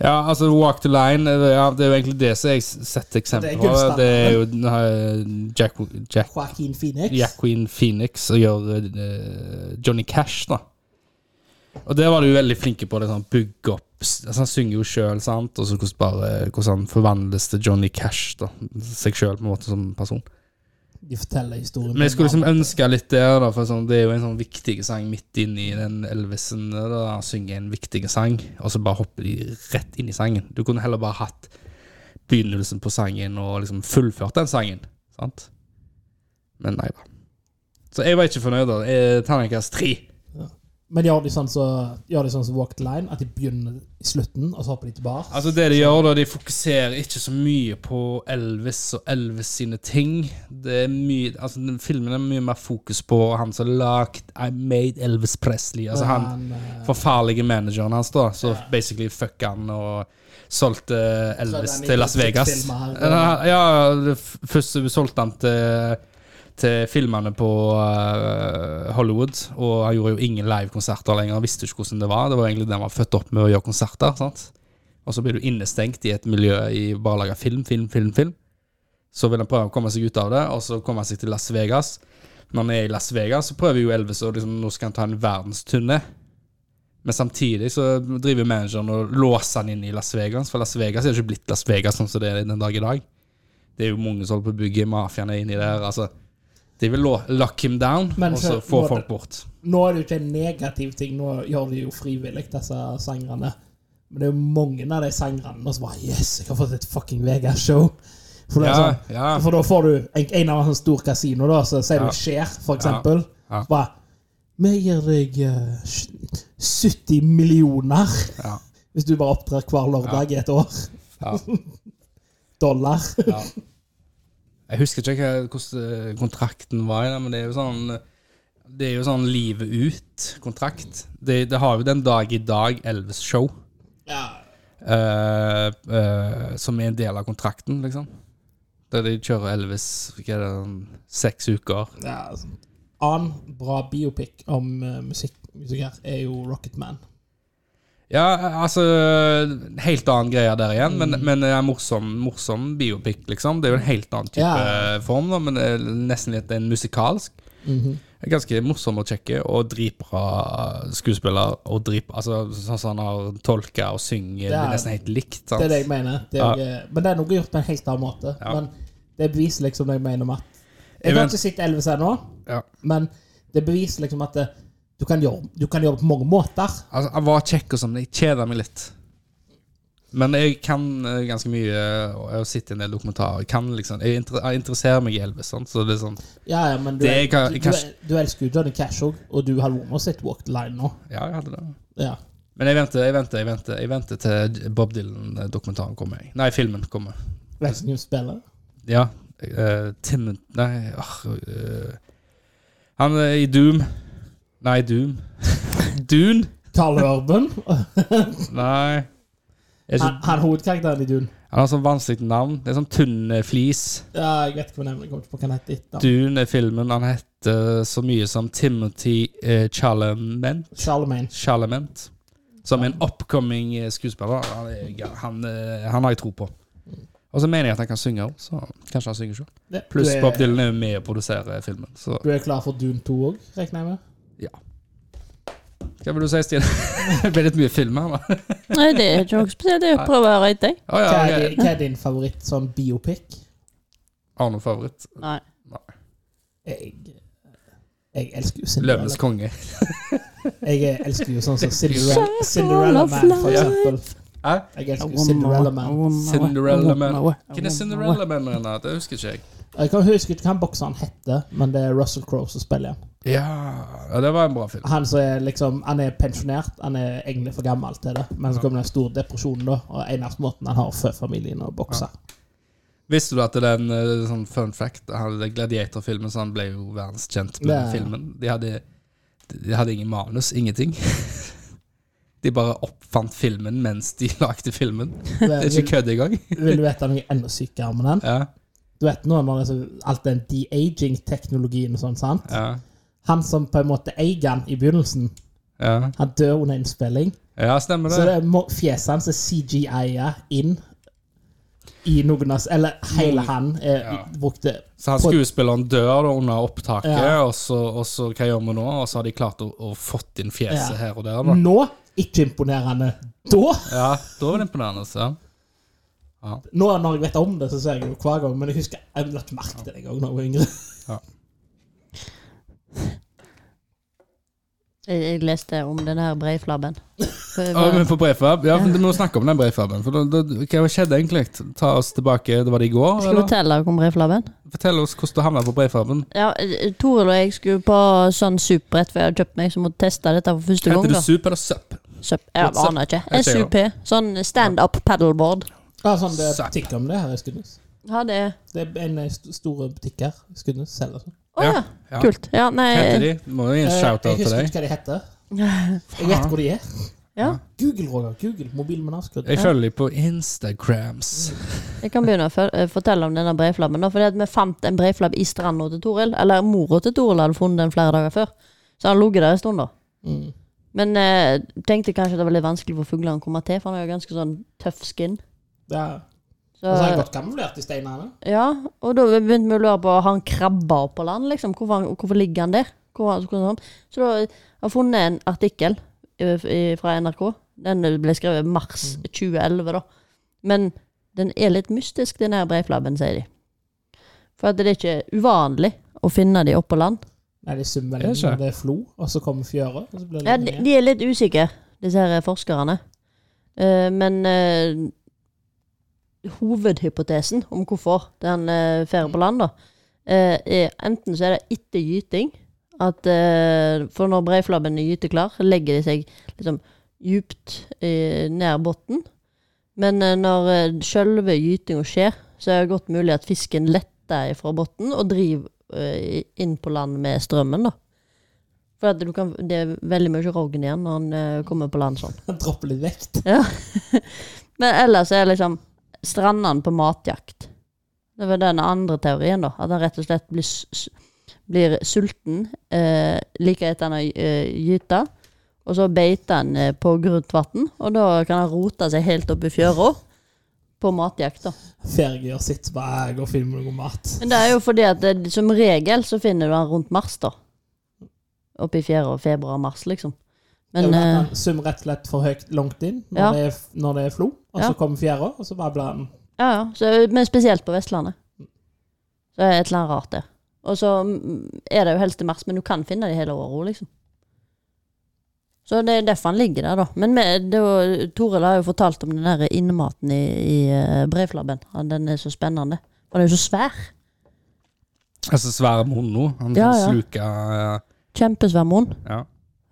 S3: Ja, altså Walk the Line eh, ja, Det er jo egentlig det som jeg s- setter
S2: Det
S3: eksempler
S2: er
S3: på.
S2: gullstandarden.
S3: Det er jo eh, Jack, Jack,
S2: Joaquin Phoenix?
S3: Jack Queen Phoenix og gjør eh, Johnny Cash, da. Og der var du jo veldig flinke på det. sånn Bygge opp s- altså, Han synger jo sjøl, sant, og så hvordan, bare, hvordan han forvandles til Johnny Cash, da. Seg sjøl, på en måte, som person.
S2: De forteller historien.
S3: Men jeg skulle
S2: på en
S3: liksom
S2: annen
S3: ønske litt der, da, for sånn, det er jo en sånn viktig sang midt inni den Elvisen. Da han synger en viktig sang, og så bare hopper de rett inn i sangen. Du kunne heller bare hatt begynnelsen på sangen og liksom fullført den sangen. Sant? Men nei da. Så jeg var ikke fornøyd. da. Jeg- Terningkast tre.
S2: Men gjør de sånn så, gjør de sånn som Walk the Line, at de begynner i slutten, og så hopper de tilbake?
S3: Altså Det de gjør, da, de fokuserer ikke så mye på Elvis og Elvis sine ting. Det er mye, altså den Filmen er mye mer fokus på han som lagde I Made Elvis Presley. Altså han
S2: eh,
S3: forferdelige manageren hans, da. Så basically fucka han og solgte eh, Elvis
S2: Så den
S3: til Las
S2: ikke
S3: Vegas.
S2: filmet her,
S3: Ja, ja, det f- først så solgte han til til filmene på eh, Hollywood, og han gjorde jo ingen livekonserter lenger. Han visste ikke hvordan det var. Det var egentlig det han var født opp med å gjøre konserter. sant? Og så blir du innestengt i et miljø i bare å lage film, film, film, film. Så vil han prøve å komme seg ut av det, og så komme seg til Las Vegas. Når han er i Las Vegas, så prøver jo Elvis å liksom, nå skal han ta en verdensturné. Men samtidig så driver manageren og låser han inn i Las Vegas, for Las Vegas er jo ikke blitt Las Vegas sånn som det er den dag i dag. Det er jo mange som holder på å bygge, mafiaen er inni der. altså. De vil lo- lock him down,
S2: Men
S3: og så
S2: så-
S3: få
S2: nå-
S3: folk bort.
S2: Nå er det jo ikke en negativ ting, nå gjør de jo frivillig, disse sangerne. Men det er jo mange av de sangerne som bare Yes, jeg har fått et fucking Vegas-show. For, det er
S3: Ja,
S2: sånn,
S3: ja.
S2: for da får du en, en av sånne store kasino, da, så sier
S3: Ja.
S2: du Skjer, for eksempel.
S3: Ja.
S2: Så bare Vi gir deg eh, sj- 70 millioner
S3: Ja.
S2: hvis du bare opptrer hver lørdag i et år.
S3: Ja.
S2: Dollar.
S3: Ja. Jeg husker ikke hva- hvordan eh, kontrakten var, i det, men det er jo sånn Det er jo sånn livet ut-kontrakt. Det, det har jo den dag i dag Elvis-show,
S2: [laughs] Ja.
S3: eh, eh, som er en del av kontrakten, liksom. Der de kjører Elvis hva er det, sånn seks uker.
S2: ja sånn. Annen bra biopic om eh, musikk, musikk her er jo Rocket Man.
S3: Ja, altså Helt annen greie der igjen, men,
S2: Mm.
S3: men det er morsom, morsom biopic, liksom. Det er jo en helt annen type
S2: Ja. Mhm.
S3: form, da, men det er nesten litt en musikalsk. Det er Ganske morsom og kjekke, og dritbra skuespiller. Og drip, altså, sånn som han har tolka og synger, det
S2: Det
S3: er
S2: er-
S3: nesten helt likt. Sant?
S2: Det er det jeg mener. Det er,
S3: Ja.
S2: jo- eh, Men det er noe gjort på en helt annen måte.
S3: Ja.
S2: Men det beviser liksom det jeg mener med at Jeg
S3: Jeg
S2: har
S3: men-
S2: ikke sett Elvis ennå,
S3: Ja.
S2: men det beviser liksom at det, du, kan gjøre, du kan gjøre det på mange måter.
S3: Altså, han var kjekk og sånn, men jeg kjeder meg litt. Men jeg kan eh, ganske mye, og jeg har sett en del dokumentarer. Jeg, kan, liksom, jeg, inter jeg interesserer meg i Elvis, sant? så det er sånn
S2: Ja, ja, men du,
S3: Det
S2: el-
S3: kan-
S2: du, du,
S3: kanskje-
S2: du elsker jo Johnny Cash òg, og du hadde vært med og sett Walk the Line nå.
S3: Ja, jeg hadde det.
S2: Ja.
S3: Men jeg venter, jeg venter, jeg venter, jeg venter til Bob Dylan-dokumentaren kommer. jeg. Nei, filmen kommer.
S2: Vet ikke hvem som spiller.
S3: Ja. Uh, Tim Nei, ah, eh, Han er i Doom. Nei, Doom. [laughs] Dune?
S2: Carl Urban.
S3: Nei. [laughs] Jeg er
S2: Han,
S3: ikke,
S2: han hovedkarakteren i Dune.
S3: han har sånn vanskelig navn. Det er sånn tynn eh, flis.
S2: Ja, jeg vet ikke hva navnet jeg kommer ikke på hva han heter. etter.
S3: Dune er filmen. Han heter så mye som Timothy eh, Chalamet.
S2: Charlemagne.
S3: Chalamet. Som er en upcoming eh, skuespiller. Han, er, gal- han, eh, han har jeg tro på. Og så mener jeg at han kan synge også, så kanskje han synger selv.
S2: Ja,
S3: Pluss
S2: du er-
S3: Bob Dylan er jo med og produserer filmen. Så
S2: Du er klar for Dune 2 òg, regner jeg med?
S3: hva vil du si, Stine? [laughs] det ble litt mye film her, da.
S4: Nei, det er ikke noe spesielt. Det er å prøve å høre etter.
S3: Å ja,
S2: Hva er,
S3: ok.
S2: din- hva er din favoritt sånn biopic?
S3: Har du noen favoritt?
S4: Nei.
S2: Jeg, jeg elsker jo Cinderella.
S3: Løvenes konge.
S2: Jeg elsker jo sånn som Cinderella, Cinderella Man, for
S4: Ja.
S2: eksempel.
S3: Hæ?
S2: Jeg elsker jo Cinderella Man.
S3: Cinderella Man. Hvem er Cinderella Man igjen? da? Det husker ikke jeg.
S2: Jeg kan huske ikke hva bokseren heter, men det er Russell Crowe som spiller han.
S3: Ja, ja, det var en bra film.
S2: Han som er liksom, han er pensjonert, han er egentlig for gammel til det, men så kommer den store depresjonen, da, og eneste måten han har å fø familien å bokse.
S3: Visste du at den eh, sånn fun fact han- den Gladiator-filmen så han ble jo verdenskjent med den
S2: Det-
S3: filmen. De hadde, de hadde ingen manus, ingenting. [laughs] De bare oppfant filmen mens de [laughs] lagde filmen. Det er ikke
S2: Vil,
S3: kødd engang.
S2: [laughs] vil du vite noe enda sykere med den?
S3: Ja,
S2: Du vet nå når det er så- alt den de-aging-teknologien og sånn, sant?
S3: ja,
S2: Han som på en måte eier han i begynnelsen,
S3: ja.
S2: han dør under innspilling.
S3: ja stemmer
S2: Så det
S3: det.
S2: er mo- fjeset hans er CGI-a inn i noen av Eller hele han er
S3: Ja.
S2: brukt det.
S3: Så han skuespilleren dør da under opptaket,
S2: Ja.
S3: og, så, og så hva gjør vi nå? Og så har de klart å, å fått inn fjeset
S2: Ja. Mm.
S3: her og der. Da.
S2: Nå ikke imponerende. Da!
S3: Ja, da var det imponerende. altså. Ja.
S2: Nå når jeg vet om det, så ser jeg det jo hver gang, men jeg husker jeg la ikke merke til det en gang da jeg var yngre.
S4: Jeg, jeg leste om den her
S3: [laughs]
S4: breiflabben. eh,
S3: Ja, men på brevfab, ja, for Vi må snakke om den brevfaben. For da, da, hva skjedde egentlig? Ta oss tilbake, det var det i går?
S4: Skal du
S3: Eller?
S4: fortelle dere om breiflabben?
S3: Fortell oss hvordan du havna på brevfaben.
S4: Ja, eh, Toril og jeg skulle på sånn sup rett før jeg hadde kjøpt meg, så måtte teste dette for første gang.
S3: Heter du
S4: da.
S3: Sup eller Sup?
S4: Sup? Jeg
S3: Sup.
S4: aner ikke.
S3: Jeg ser
S4: SUP. Sånn standup paddleboard.
S2: Ja, sånn det er
S3: Zapp.
S2: butikk om det her i Skudenes.
S4: Ja, det er
S2: Det er en eh, st stor butikk her. i Skudenes selger sånn.
S4: Å ja.
S3: ja.
S4: Kult. Ja, nei
S3: Heter de? Må jo gi en
S2: Eh, Jeg
S3: shout-out til
S2: husker
S3: deg.
S2: ikke hva de heter. Jeg vet hvor de er.
S4: Ja.
S2: Google, Roger. Google. Mobilen min er avskrudd.
S3: Jeg følger dem på Instagrams.
S4: Jeg kan begynne å fø- eh, fortelle om denne breiflabben. da, Fordi at vi fant en breiflabb i stranda til Toril. Eller mora til Toril hadde funnet den flere dager før. Så han lå der en stund, da.
S2: Mm.
S4: Men eh, tenkte kanskje det var litt vanskelig for fuglene å komme til, for han har jo ganske sånn tøff skin.
S2: Det er,
S4: Så,
S2: og så har jeg godt kamuflert i steinene.
S4: ja, og da begynte vi å lure på har han krabber på land, liksom. Hvorfor, han, hvorfor ligger han der? Hvor, har- hvordan har han? Så da har jeg funnet en artikkel eh, f- i- fra NRK. Den ble skrevet mars
S2: Mm.
S4: 2011, da. Men den er litt mystisk, den her breiflabben, sier de. For at det er ikke uvanlig å finne de oppå land.
S2: Nei, de svømmer
S3: Er
S2: veldig
S3: det
S2: når
S3: ikke?
S2: det er flo, og så kommer fjøra. Og så blir det
S4: Ja,
S2: litt
S4: de,
S2: mer.
S4: de er litt usikre, disse her forskerne. Eh, men eh, hovedhypotesen om hvorfor den uh, fer på land, da, eh, er enten så er det etter gyting at eh, For når breiflabben er gyteklar, legger de seg liksom djupt eh, nær bunnen. Men eh, når eh, selve gytinga skjer, så er det godt mulig at fisken letter fra bunnen og driver eh, inn på land med strømmen, da. For at du kan, det er veldig mye rogn igjen når han eh, kommer på land sånn.
S2: Dropper litt vekt.
S4: Men ellers er liksom strandene på matjakt. Det var den andre teorien, da. At han rett og slett blir, s- s- blir sulten eh, like etter han har eh, gyta. Og så beiter han eh, på grunt vann, og da kan han rote seg helt opp i fjøra på matjakt, da.
S2: Ferge gjør sitt, så bare jeg går og filmer noe mat.
S4: Men det er jo fordi at det, som regel så finner du han rundt mars, da. Oppi fjæra, februar-mars, liksom. Men
S2: Men,
S4: eh,
S2: Svømmer rett og slett for høyt langt inn når,
S4: Ja.
S2: det, er, når det er flo, og
S4: Ja.
S2: så kommer fjæra, og så bare blir den
S4: Ja, ja. Så, men spesielt på Vestlandet. Så er det et eller annet rart der. Og så mm, er det jo helst i mars, men du kan finne det hele året òg, liksom. Så det er derfor han ligger der, da. Men vi- det var- Toril har jo fortalt om den der innmaten i, i eh, brevflabben. Ja, Den er så spennende. Og den er jo så svær.
S3: Altså svære mono. Han
S4: Ja,
S3: kan
S4: ja.
S3: sluke eh,
S4: Kjempesvær munn.
S3: ja.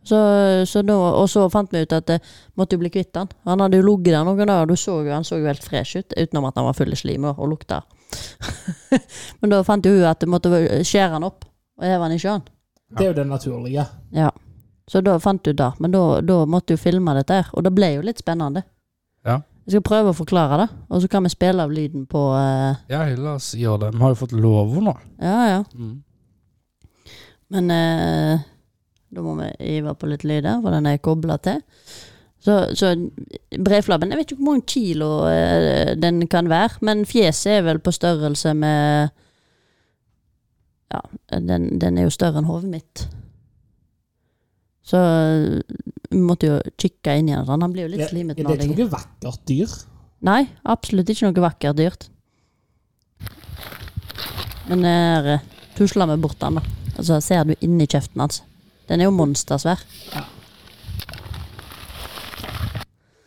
S4: Så, så da, og så fant vi ut at eh, måtte jo bli kvitt han. Han hadde jo ligget der noen dager, du så jo, han så jo helt fresh ut, utenom at han var full i slim og, og lukta. [laughs] Men da fant jo hun at det måtte være- skjære han opp og heve han i sjøen.
S2: Det er jo det naturlige.
S4: Ja. Så da fant du det. Men da, da måtte jo filme dette her, og det ble jo litt spennende.
S3: Ja.
S4: Jeg skal prøve å forklare det, og så kan vi spille av lyden på eh,
S3: ja, la oss gjøre det. Vi har jo fått lover nå.
S4: Ja, ja.
S3: Mm. [laughs]
S4: Men eh, da må vi ive på litt lyder, for den er kobla til. Så, så breflabben Jeg vet ikke hvor mange kilo eh, den kan være, men fjeset er vel på størrelse med Ja, den, den er jo større enn hodet mitt. Så eh, vi måtte jo kikke inn i den. sånn. Han blir jo litt
S2: Det,
S4: slimete
S2: det
S4: når
S2: er
S4: han
S2: ikke
S4: ligger
S2: noe vakkert dyr.
S4: Nei, absolutt ikke noe vakkert dyrt. Men her eh, tusler vi bort den, da. Og så ser du inni kjeften hans. Den er jo monstersvær.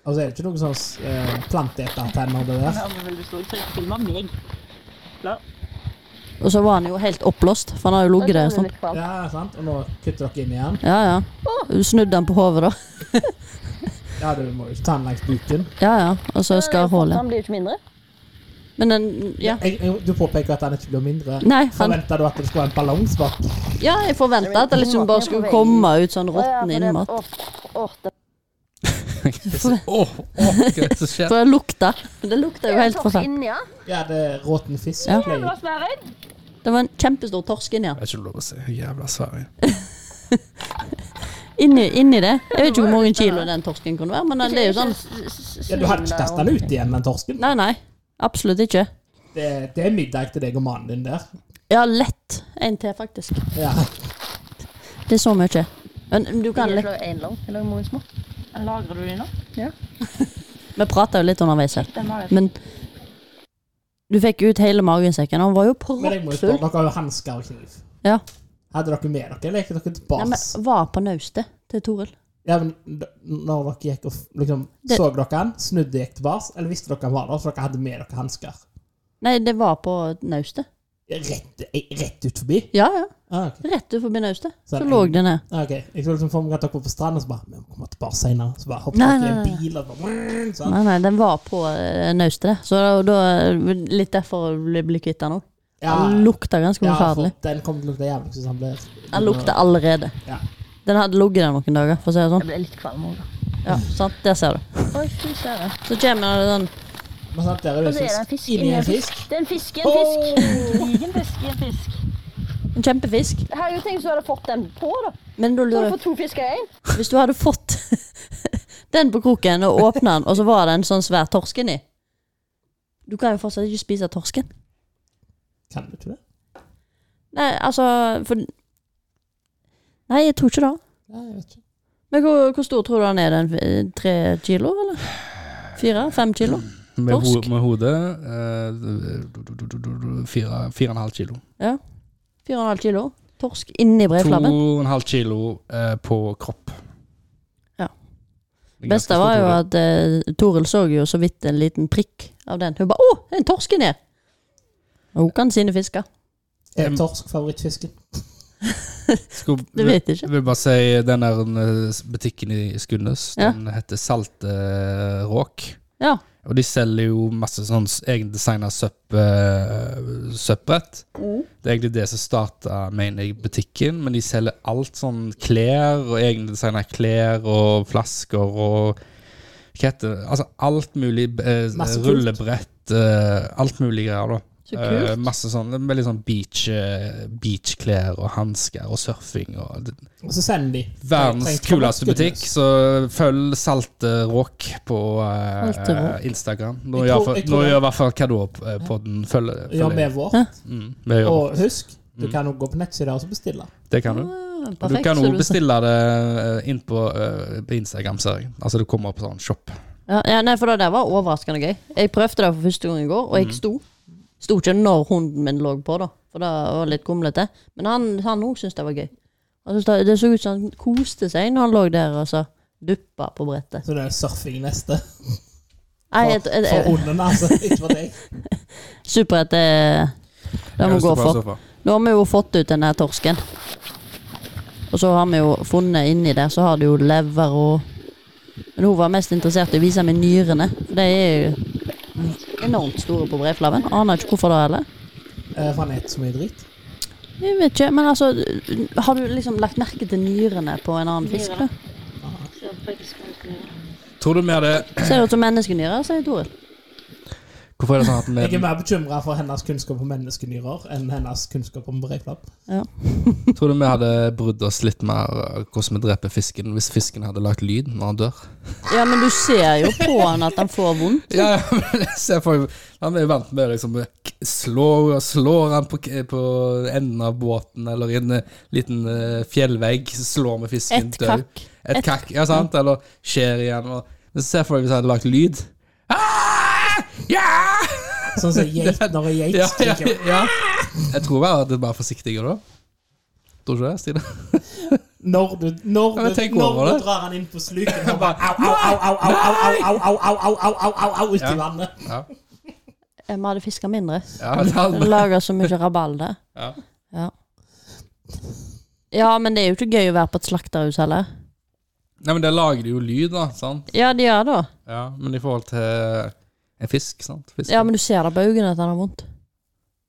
S2: Altså, er det ikke noe sånn eh, planteetertenner, det der?
S4: Og så var han jo helt oppblåst, for han har jo ligget der en stund.
S2: Ja, sant? Og nå kutter dere inn igjen.
S4: Ja, ja. Du snudde han på hodet, da.
S2: Ja, du må jo ikke ta den langs buken.
S4: Ja, ja. Og så skar hullet.
S6: Han blir jo ikke mindre.
S4: Men den Ja.
S2: Jeg, jeg, du påpeker at den ikke blir mindre.
S4: Nei, han,
S2: Forventa du at det skulle være en ballongspott?
S4: ja, jeg forventa at det liksom bare skulle komme ut sånn råtten innmat.
S3: Åh, åh, hva er det som skjer?
S4: For det lukta. Det lukta jo helt forferdelig.
S2: Ja, det er råten fisk.
S4: Ja.
S2: pleier.
S4: Det var en kjempestor torsk inni han.
S3: Det er ikke lov å si. Jævla Sverige.
S4: Inni, inni det. Jeg vet ikke hvor mange kilo den torsken kunne være, men den- det er jo sånn
S2: Ja, du hadde ikke kasta den ut igjen, den torsken?
S4: Nei, nei. Absolutt ikke.
S2: Det, det er middag til deg og mannen din der.
S4: Ja, lett. En til, faktisk.
S2: Ja.
S4: Det er så mye. Men du kan litt.
S6: lage én lang. Jeg lager mange små.
S1: Lagrer du de nå?
S4: [laughs] Vi prata jo litt underveis her,
S1: Den var jo
S4: men du fikk ut hele magensekken. Han var jo
S2: Men jeg må jo spørre,
S4: proppfull.
S2: dere har jo hansker og kniv.
S4: Ja.
S2: Hadde dere med dere, eller gikk dere til
S4: Nei,
S2: bars?
S4: men var på naustet til Toril.
S2: Ja, men d- når dere gikk og f- liksom,
S4: Det-
S2: så dere han, snudde gikk til bars, eller visste dere han var der, så dere hadde med dere hansker?
S4: Nei, det var på naustet.
S2: Rett, eh, rett ut forbi?
S4: Ja, ja.
S2: Ah, ok.
S4: Rett ut forbi naustet.
S2: Så
S4: Så
S2: en-
S4: lå det ned.
S2: Ah, ok. Jeg så liksom for meg at dere var på stranden, og så bare, vi må komme til bars senere. Så bare hoppet
S4: Nei,
S2: dere i
S4: nei,
S2: en
S4: nei.
S2: bil, og så bare, sånn.
S4: Nei, nei, den var på eh, naustet, det. Så da, da litt derfor ble ble kvitt den òg.
S2: Ja,
S4: Den lukta ganske
S2: ja, for
S4: forferdelig.
S2: den kom til å lukte jævlig, så han ble...
S4: Den lukta allerede.
S2: Ja.
S4: Den hadde ligget der noen dager, for å si det sånn.
S6: Jeg ble litt kvalm òg, da.
S4: Ja, sant? Der ser du.
S6: Oi, fy søren.
S4: Så kommer det sånn
S2: Men sant, der er
S6: Og
S2: det
S6: så er det en fisk
S2: Inni en fisk.
S6: Det er en fisk i en fisk. Gedigen fisk i en fisk.
S4: en kjempefisk.
S6: Herregud, tenk hvis du hadde fått den på, da.
S4: Men da
S6: Så
S4: lurer
S6: hadde du
S4: jeg
S6: fått to fisker i én.
S4: Hvis du hadde fått [laughs] den på kroken og åpna den, og så var det en sånn svær torsk inni Du kan jo fortsatt ikke spise torsken.
S2: Kan du ikke det?
S4: Nei, altså for, Nei, jeg tror ikke det.
S2: Nei, jeg vet ikke.
S4: Men hvor, hvor stor tror du den er? Den Tre kilo, eller? Fire? Fem kilo?
S3: Med, ho
S4: Torsk.
S3: med hodet eh, du- du- du- du- du- du- fire- Fire og en halv kilo.
S4: Fire og en halv kilo torsk inni
S3: To
S4: brevflammen.
S3: og en halv kilo eh, på kropp.
S4: Ja.
S3: Det er
S4: Beste
S3: ganske
S4: var
S3: stort
S4: jo
S3: hode.
S4: at eh, Toril så jo så vidt en liten prikk av den. Hun bare 'Å, det er en torsk inni her!' Og hun kan sine fisker.
S2: Er torsk favorittfisken?
S3: Skulle-
S4: Det vet jeg ikke.
S3: Jeg vil bare si den der eh, butikken i Skunnes,
S4: Ja.
S3: den heter Salteråk.
S4: Ja.
S3: Og de selger jo masse sånn s- egendesigna søpp, eh, søppbrett. Det er egentlig det som starta, mener jeg, butikken. Men de selger alt sånn klær og egendesigna klær og flasker og hva heter det? Altså alt mulig. eh,
S2: Masse kult.
S3: rullebrett. eh, alt mulig greier, da.
S4: Så
S3: Eh,
S4: kult.
S3: masse sånn, det er Veldig sånn beach, eh, beachklær og hansker og surfing. og det-
S2: Og så sender de.
S3: Verdens
S2: Tenk på altså.
S3: kuleste butikk,
S2: Skunnes.
S3: så følg Salteråk på eh,
S4: Salte Rock.
S3: Instagram.
S2: Jeg
S3: Nå
S2: tror-
S3: gjør for-
S2: jeg
S3: nå
S2: tror det.
S3: gjør i hvert fall eh, Kadå-podden følger
S2: Ja, med vår.
S3: Mm, vi gjør
S2: Og husk, du
S3: Mm.
S2: kan jo gå på nettsida og så bestille.
S3: det kan du.
S4: Ah,
S3: Og du
S4: perfekt,
S3: kan
S4: så
S3: òg
S4: du-
S3: bestille det eh, inn på, eh, på Instagram, ser jeg. Altså det kommer opp sånn shop.
S4: Ja, ja, nei, for det der var overraskende gøy. Jeg prøvde det for første gang i går,
S3: Mm.
S4: og jeg sto. Sto ikke når hunden min lå på, da, for det var litt kumlete. Men han han òg syntes det var gøy. Han syntes det, det så ut som han koste seg når han lå der og så duppa på brettet.
S2: Så det er surfing neste.
S4: Nei,
S2: For,
S4: et, et,
S2: for
S4: et,
S2: hunden, altså. Ikke for deg.
S4: Superhett det eh, det må vi gå for. Nå har vi jo fått ut denne torsken. Og så har vi jo funnet inni der, så har det jo lever og Men hun var mest interessert i å vise meg nyrene. For de er jo enormt store på brevflaven. Aner ikke hvorfor det heller.
S2: Eh, For han spiser så mye drit.
S4: Jeg vet ikke, men altså Har du liksom lagt merke til nyrene på en annen fisk? da?
S3: Tror du vi hadde
S4: Ser det ut som menneskenyrer, sier Toril.
S3: Hvorfor er det sånn at
S2: Jeg
S3: vi
S2: er mer bekymra for hennes kunnskap om menneskenyrer enn hennes kunnskap om breiflabb.
S3: Tror du vi hadde brydd oss litt mer eh, hvordan vi dreper fisken, hvis fisken hadde lagt lyd når han dør?
S4: Ja, men du ser jo på han at han får vondt.
S3: Ja, ja, men jeg ser for Han er jo vant med liksom k- Slår, slår han på, k- på enden av båten eller i en eh, liten eh, fjellvegg, så slår vi fisken
S4: Ett kakk.
S3: Et kakk, ja sant? Eller skjer igjen. Og, men så ser jeg for deg hvis jeg hadde lagt lyd. Ah! Ja!
S2: Sånn som geit når en geit
S3: Ja, ja,
S2: skriker.
S3: ja. Jeg tror jeg hadde vært forsiktigere da. Tror du ikke det, Stine?
S2: Når du, når
S3: Ja, men
S2: du,
S3: tenk
S2: når
S3: over
S2: du
S3: det.
S2: drar han inn på sluken og bare au, au, au, au, au, au, au, au, au, au, au, au, au, au, ut i
S3: Ja.
S2: vannet.
S3: Ja.
S4: Eh, Vi hadde fiska mindre.
S3: Ja, det hadde,
S4: Laga så mye rabalder.
S3: ja.
S4: Ja. ja, men det er jo ikke gøy å være på et slakterhus heller.
S3: Nei, men det lager jo lyd, da. sant?
S4: Ja, det gjør det.
S3: Ja, Men i forhold til en fisk, sant? Fisk.
S4: Ja, men du ser det på øynene at han har vondt.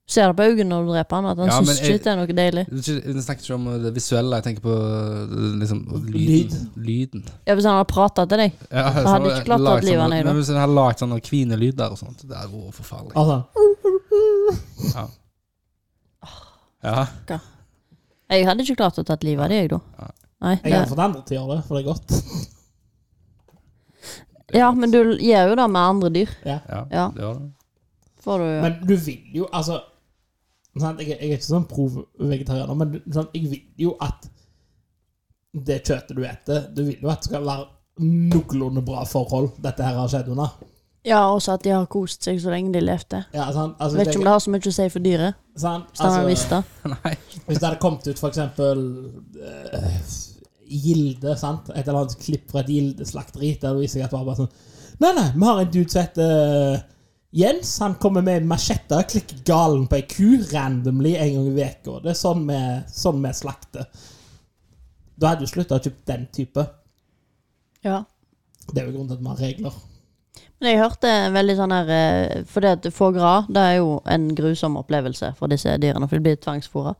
S4: Du ser det på øynene når du dreper han, at han
S3: Ja, men
S4: syns
S3: jeg-
S4: ikke det er noe deilig.
S3: Du snakker ikke om uh, det visuelle, jeg tenker på eh, liksom,
S2: Lyd.
S3: lyden. lyden.
S4: Ja, Hvis han hadde prata til deg.
S3: Ja,
S4: hadde ikke klart å
S3: lagt
S4: bli
S3: sånn-
S4: vanøyd, da.
S3: Men Hvis en hadde lagd sånne kvinelyder og sånt, det er jo forferdelig.
S2: Altså,
S3: Ja.
S4: Jeg hadde ikke klart å tatt livet av deg, jeg, da. Nei,
S2: jeg
S4: det,
S2: har fått andre til å gjøre det, for det er godt.
S4: ja, men du gjør jo det med andre dyr.
S3: Ja,
S4: Ja.
S3: Det var det. [laughs]
S4: Får du
S2: Men du vil jo, altså sant? Jeg, er- jeg er ikke sånn pro-vegetarianer, men du- sant? jeg vil jo at det kjøttet du eter, du vil jo at det skal være noenlunde bra forhold dette her har skjedd under.
S4: Ja, også at de har kost seg så lenge de levde.
S2: Ja, sant? Altså,
S4: Vet
S2: det-
S4: ikke om det har så mye å si for dyret.
S2: sant?
S4: Hvis han hadde
S2: Altså,
S4: visst det.
S3: Nei.
S2: Hvis det hadde kommet ut for eksempel eh, Gilde, sant? Et eller annet klipp fra et gildeslakteri der det viser seg at det var bare sånn Nei, nei, vi har en dude som heter eh, Jens. Han kommer med en machette og klikker galen på ei ku randomly en gang i uka. Det er sånn vi, sånn vi slakter. Da hadde du slutta å kjøpe den type.
S4: Ja.
S2: Det er jo grunnen til at vi har regler.
S4: Men jeg hørte veldig sånn her eh, For det at fogra, det er jo en grusom opplevelse for disse dyrene, for de blir tvangsfôra.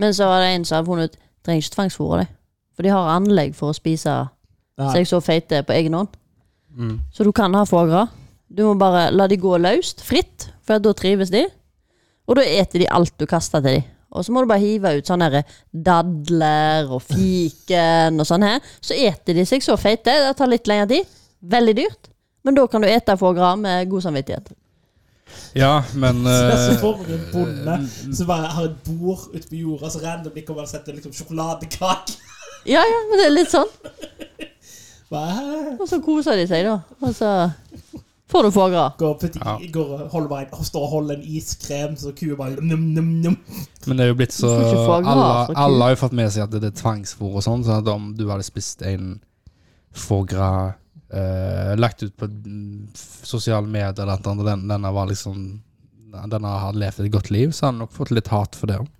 S4: Men så var det en som hadde funnet ut trenger ikke tvangsfôre dem. For de har anlegg for å spise så jeg så feite på egen hånd.
S3: Mm.
S4: Så du kan ha foie gras. Du må bare la de gå løst, fritt, for da trives de. Og da eter de alt du kaster til de. Og så må du bare hive ut sånne her dadler og fiken og sånn her. Så eter de seg så feite. Det tar litt lengre tid. Veldig dyrt. Men da kan du ete foie gras med god samvittighet.
S3: Ja, [laughs] men
S2: Så jeg ser
S3: eh,
S2: for meg en bonde som bare har et bord ute på jorda, så randomly kommer han og setter liksom sjokoladekake.
S4: Ja, ja, men det er litt sånn.
S2: Bare,
S4: Og så koser de seg, da. Og så får du foie gras.
S2: Går, putt,
S3: Ja.
S2: går og holder bare en, står og holder en iskrem, så kua bare num, num, num.
S3: Men det er jo blitt så
S4: Du får ikke foie gras
S3: alle,
S4: fra ku.
S3: alle har jo fått med seg at det er tvangsfôr og sånn, så at om du hadde spist en foie gras eh, lagt ut på mm, f- sosiale medier eller noe annet, og den, denne var liksom denne har levd et godt liv, så hadde han nok fått litt hat for det òg.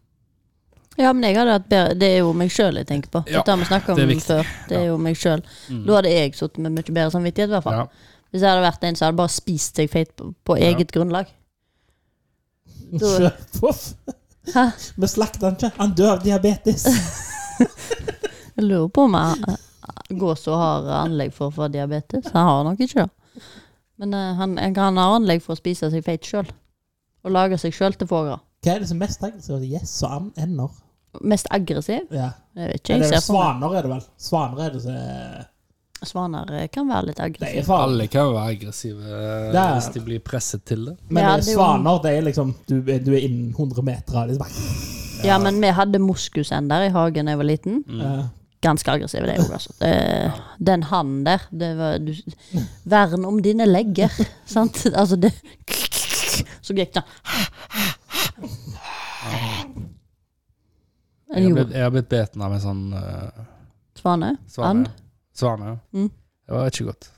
S4: Ja, men jeg hadde hatt bedre Det er jo meg sjøl jeg tenker på.
S3: Ja,
S4: Dette har vi snakka om
S3: det er viktig. Mm.
S4: før. Det er jo meg selv. Da hadde jeg sittet med mye bedre samvittighet, i hvert fall.
S3: Ja.
S4: Hvis jeg hadde vært en som hadde bare spist seg feit på, på
S3: Ja.
S4: eget grunnlag. Da,
S2: [laughs] Kjør Poff.
S4: hæ?
S2: Vi slakter han ikke. Han dør av diabetes.
S4: Jeg lurer på om jeg eh, gås og har anlegg for å få diabetes. Han har nok ikke det. Men eh, han, han har anlegg for å spise seg feit sjøl. Og lage seg sjøl til foie gras.
S2: Hva er det som er mest aggressivt? Gjess og and- ender.
S4: Mest aggressiv?
S2: Ja.
S4: Jeg vet ikke.
S2: Eller
S4: Jeg ser for
S2: svaner er det vel. Svaner er det som er-
S4: meg Svaner eh, kan være litt
S2: Det er
S4: aggressive.
S2: faen.
S3: Alle kan jo være aggressive eh,
S2: Det er-
S3: hvis de blir presset til det.
S2: Men
S4: Ja,
S2: eh,
S4: det er jo-
S2: svaner, det er liksom Du, er- du er innen 100 meter av liksom.
S4: Ja, men vi hadde moskusender i hagen da jeg var liten.
S3: Mm.
S2: Eh,
S4: Ganske aggressive, det òg, altså. Det- Den hannen der det var, du, Vern om dine legger,
S3: [laughs]
S4: sant? Altså, det Så gikk den
S3: Jeg
S4: En
S3: har blitt,
S4: jord.
S3: jeg har blitt beten av en sånn eh,
S4: Svane? And?
S3: svane. svane. ja.
S4: Mm.
S3: Det var ikke godt.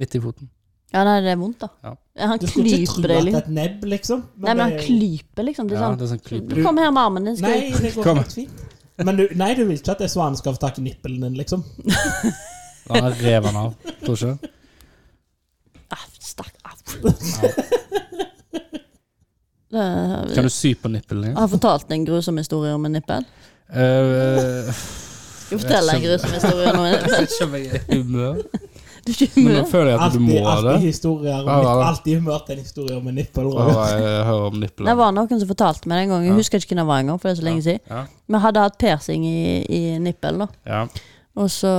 S3: Midt i foten.
S4: Ja, nei, det er vondt, da.
S3: Ja.
S4: Han
S2: du skulle ikke tro
S4: klyper
S2: at
S4: deg,
S2: det er
S4: liksom.
S2: et nebb, liksom.
S4: Nei, men han
S2: det er jo-
S4: klyper, liksom. Det er
S3: Ja,
S4: sånn
S3: det er sånn klype.
S4: Du kom her med armen din, skal
S2: Nei,
S4: jeg
S2: det går
S3: Kom.
S2: helt fint. Men du, nei, du vil ikke at det er svanen skal få tak i nippelen din, liksom?
S3: Da rev han av. Tror ikke.
S4: Ah, Stakk av. Det-
S3: Kan du sy på nippelen
S4: Jeg
S3: igjen?
S4: har fortalt en grusom historie om en nippel.
S3: Eh,
S4: Skal jeg fortelle en
S3: Jeg
S4: grusom historie om en
S3: [laughs]
S4: nippel?
S3: vet ikke om jeg er i humør.
S4: Du er ikke
S3: Men nå
S4: med.
S3: føler jeg at du må
S2: Alltid,
S3: det.
S2: alltid historier om
S3: Ja, ja, ja.
S2: Alltid humør til en historie om en nippel.
S3: Å,
S2: Roger.
S3: jeg hører om
S4: Det
S3: nippelen.
S4: var noen som fortalte meg det en gang. Jeg husker ikke hvem det var engang, for det er så lenge siden.
S3: Ja.
S4: Vi hadde hatt persing i, i nippelen, da.
S3: Ja.
S4: Og så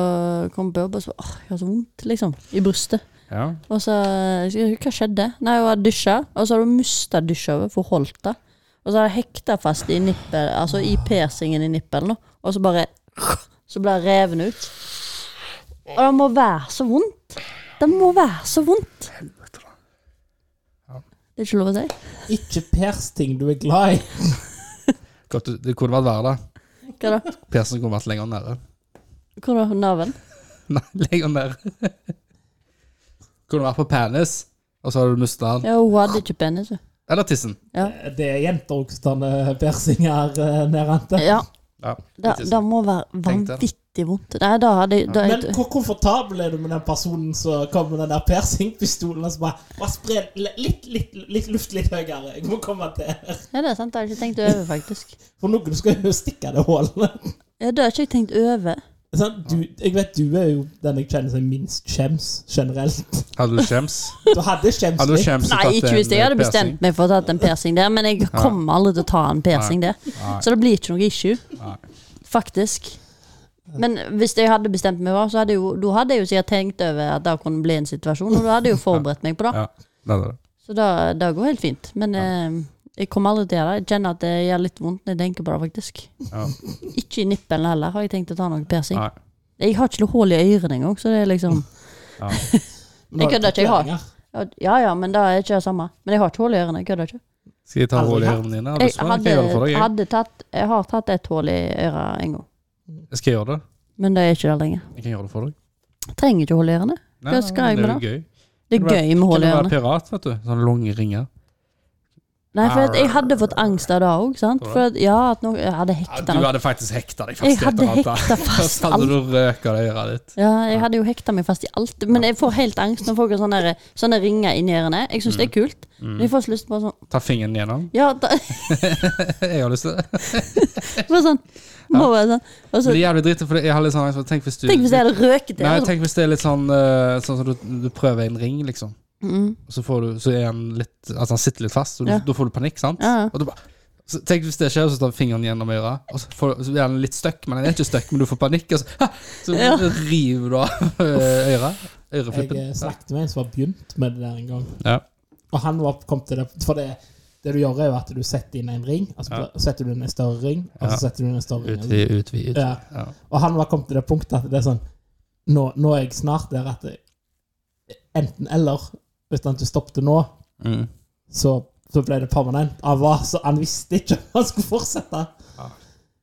S4: kom Bob og så Åh, jeg har så vondt, liksom. I brystet.
S3: Ja.
S4: Og så Hva skjedde? Nei, hun hadde dusja, og så hadde hun mista dusjhodet, for hun holdt det. Og så hadde hun hekta fast i nippel, altså i persingen i nippelen, da. og så bare Så ble hun reven ut. Og det må være så vondt. Det må være så vondt. Det er ikke lov å si.
S2: Ikke pers ting du er glad i.
S3: Godt, du- det kunne vært verre, da.
S4: Hva da?
S3: Persen kunne vært lenger nede. [laughs]
S4: Hvor da? Naven?
S3: Nei, lenger nede. [laughs] Kunne vært på penis, og så har du mista den.
S4: Ja, hun hadde ikke penis. hun.
S3: Eller tissen.
S2: Det er jenter også som tar persinger eh, nærante.
S4: [laughs] Ja,
S3: Ja,
S4: det,
S3: tissen.
S4: det må være
S3: Tenkte jeg.
S4: vanvittig vondt. Nei, da hadde jeg da,
S2: Men
S4: jeg-
S2: hvor komfortabel er du med den personen som kommer med den der persingpistolen og så bare, bare spre litt, litt, litt, luft litt høyere? Jeg må komme til her.
S4: Ja, det er sant. Det har jeg ikke tenkt over, faktisk.
S2: For noen skal jo stikke det hullet.
S4: Ja, det har jeg ikke tenkt over.
S2: Sånn, du, jeg vet du er jo den jeg kjenner som minst skjems generelt.
S3: Hadde du skjems?
S2: Du hadde
S4: [laughs]
S2: skjems
S3: Hadde du
S2: litt.
S3: skjems og
S4: Nei,
S3: tatt
S4: ikke
S3: en,
S4: hvis jeg
S3: eh,
S4: hadde
S3: piercing?
S4: bestemt meg for å ta en persing der, men
S3: [laughs]
S4: jeg kommer aldri til å ta en persing der.
S3: Nei.
S4: Så det blir ikke noe issue,
S3: Nei.
S4: faktisk. Men hvis jeg hadde bestemt meg for så hadde jeg jo, da hadde jeg jo sikkert tenkt over at det kunne bli en situasjon, og da hadde jeg jo forberedt meg på det.
S3: Ja, det hadde du.
S4: Så da- det går helt fint. Men eh, jeg kommer aldri til å gjøre det. Jeg kjenner at det gjør litt vondt når jeg tenker på det, faktisk. [laughs]
S3: Ja.
S4: Ikke i nippelen heller, har jeg tenkt å ta noe persing.
S3: Nei. Mm.
S4: Jeg har ikke noe hull i ørene engang, så det er liksom
S2: Men du
S4: Jeg kødder
S2: hadde
S4: ikke, jeg har.
S2: tatueringer.
S4: Ja ja, men det er ikke det samme. Men jeg har ikke hull i ørene, jeg kødder ikke.
S3: Skal jeg ta
S2: Aldri
S3: hull i
S2: hatt.
S3: ørene dine?
S4: Jeg,
S3: Hvis faen, kan
S4: hadde,
S3: Jeg, gjøre det for deg, jeg.
S4: hadde tatt, jeg har tatt et hull i øret en gang,
S3: jeg skal gjøre det.
S4: men det er ikke det lenger.
S3: Jeg kan gjøre det for deg.
S4: Trenger ikke hull i ørene.
S3: Nei,
S4: Hva
S3: nei,
S4: skal jeg
S3: det er
S4: med
S3: jo gøy.
S4: Det er
S3: Kan du være-
S4: gøy med
S3: Kan
S4: hull
S3: du
S4: i
S3: være
S4: ørene.
S3: pirat, vet du? Sånne lange ringer.
S4: Nei, for at jeg hadde fått angst av det òg. For at, ja, at noe, jeg hadde
S3: Ja,
S4: hekta
S3: du
S4: noe.
S3: hadde faktisk hekta deg fast.
S4: Jeg
S3: i et
S4: hadde
S3: eller annet, [laughs] da.
S4: hekta fast
S3: Så hadde du røka det i øret ditt.
S4: Ja, jeg hadde jo hekta meg fast i alt. Men jeg får helt angst når folk har sånne, der- sånne ringer inni ørene. Jeg syns det er
S3: Mm.
S4: kult. Men jeg får så lyst på sånn
S3: Ta fingeren gjennom.
S4: Ja, da,
S3: Jeg har lyst til det.
S4: bare sånn. Må være sånn. Og
S3: Det
S4: så,
S3: er jævlig dritt, for jeg har litt sånn angst for Tenk hvis du
S4: tenk hvis jeg hadde røket det.
S3: Nei,
S4: og så-
S3: tenk hvis det er litt sånn eh, Sånn som du, du prøver en ring, liksom.
S4: Mm.
S3: Og så, får du, så er han litt Altså han sitter litt fast, og du,
S4: Ja.
S3: da får du panikk, sant?
S4: Ja, ja.
S3: Og du bare så tenk hvis det skjer, og så tar fingeren gjennom øret, og så, får, så blir den litt støkk, men den er ikke støkk, men du får panikk, og så, så
S4: Ja.
S3: river du av [laughs] eh, øret. Øreflippen.
S2: Jeg eh, snakket med en som har begynt med det der en gang.
S3: Ja.
S2: Og han var, kom til det For det, det du gjør, er jo at du setter inn en ring, og så
S3: Ja.
S2: setter du inn en større ring, og
S3: Ja.
S2: så setter du inn en større ring.
S3: Utvid, utvid, utvid.
S2: Ja.
S3: Ja.
S2: Og han var kommet til det punktet at det er sånn Nå, nå er jeg snart der at det, Enten eller. Hvis han ikke stoppet nå,
S3: Mm.
S2: så, så ble det permanent. Han, var, så han visste ikke om han skulle fortsette.
S3: Ja.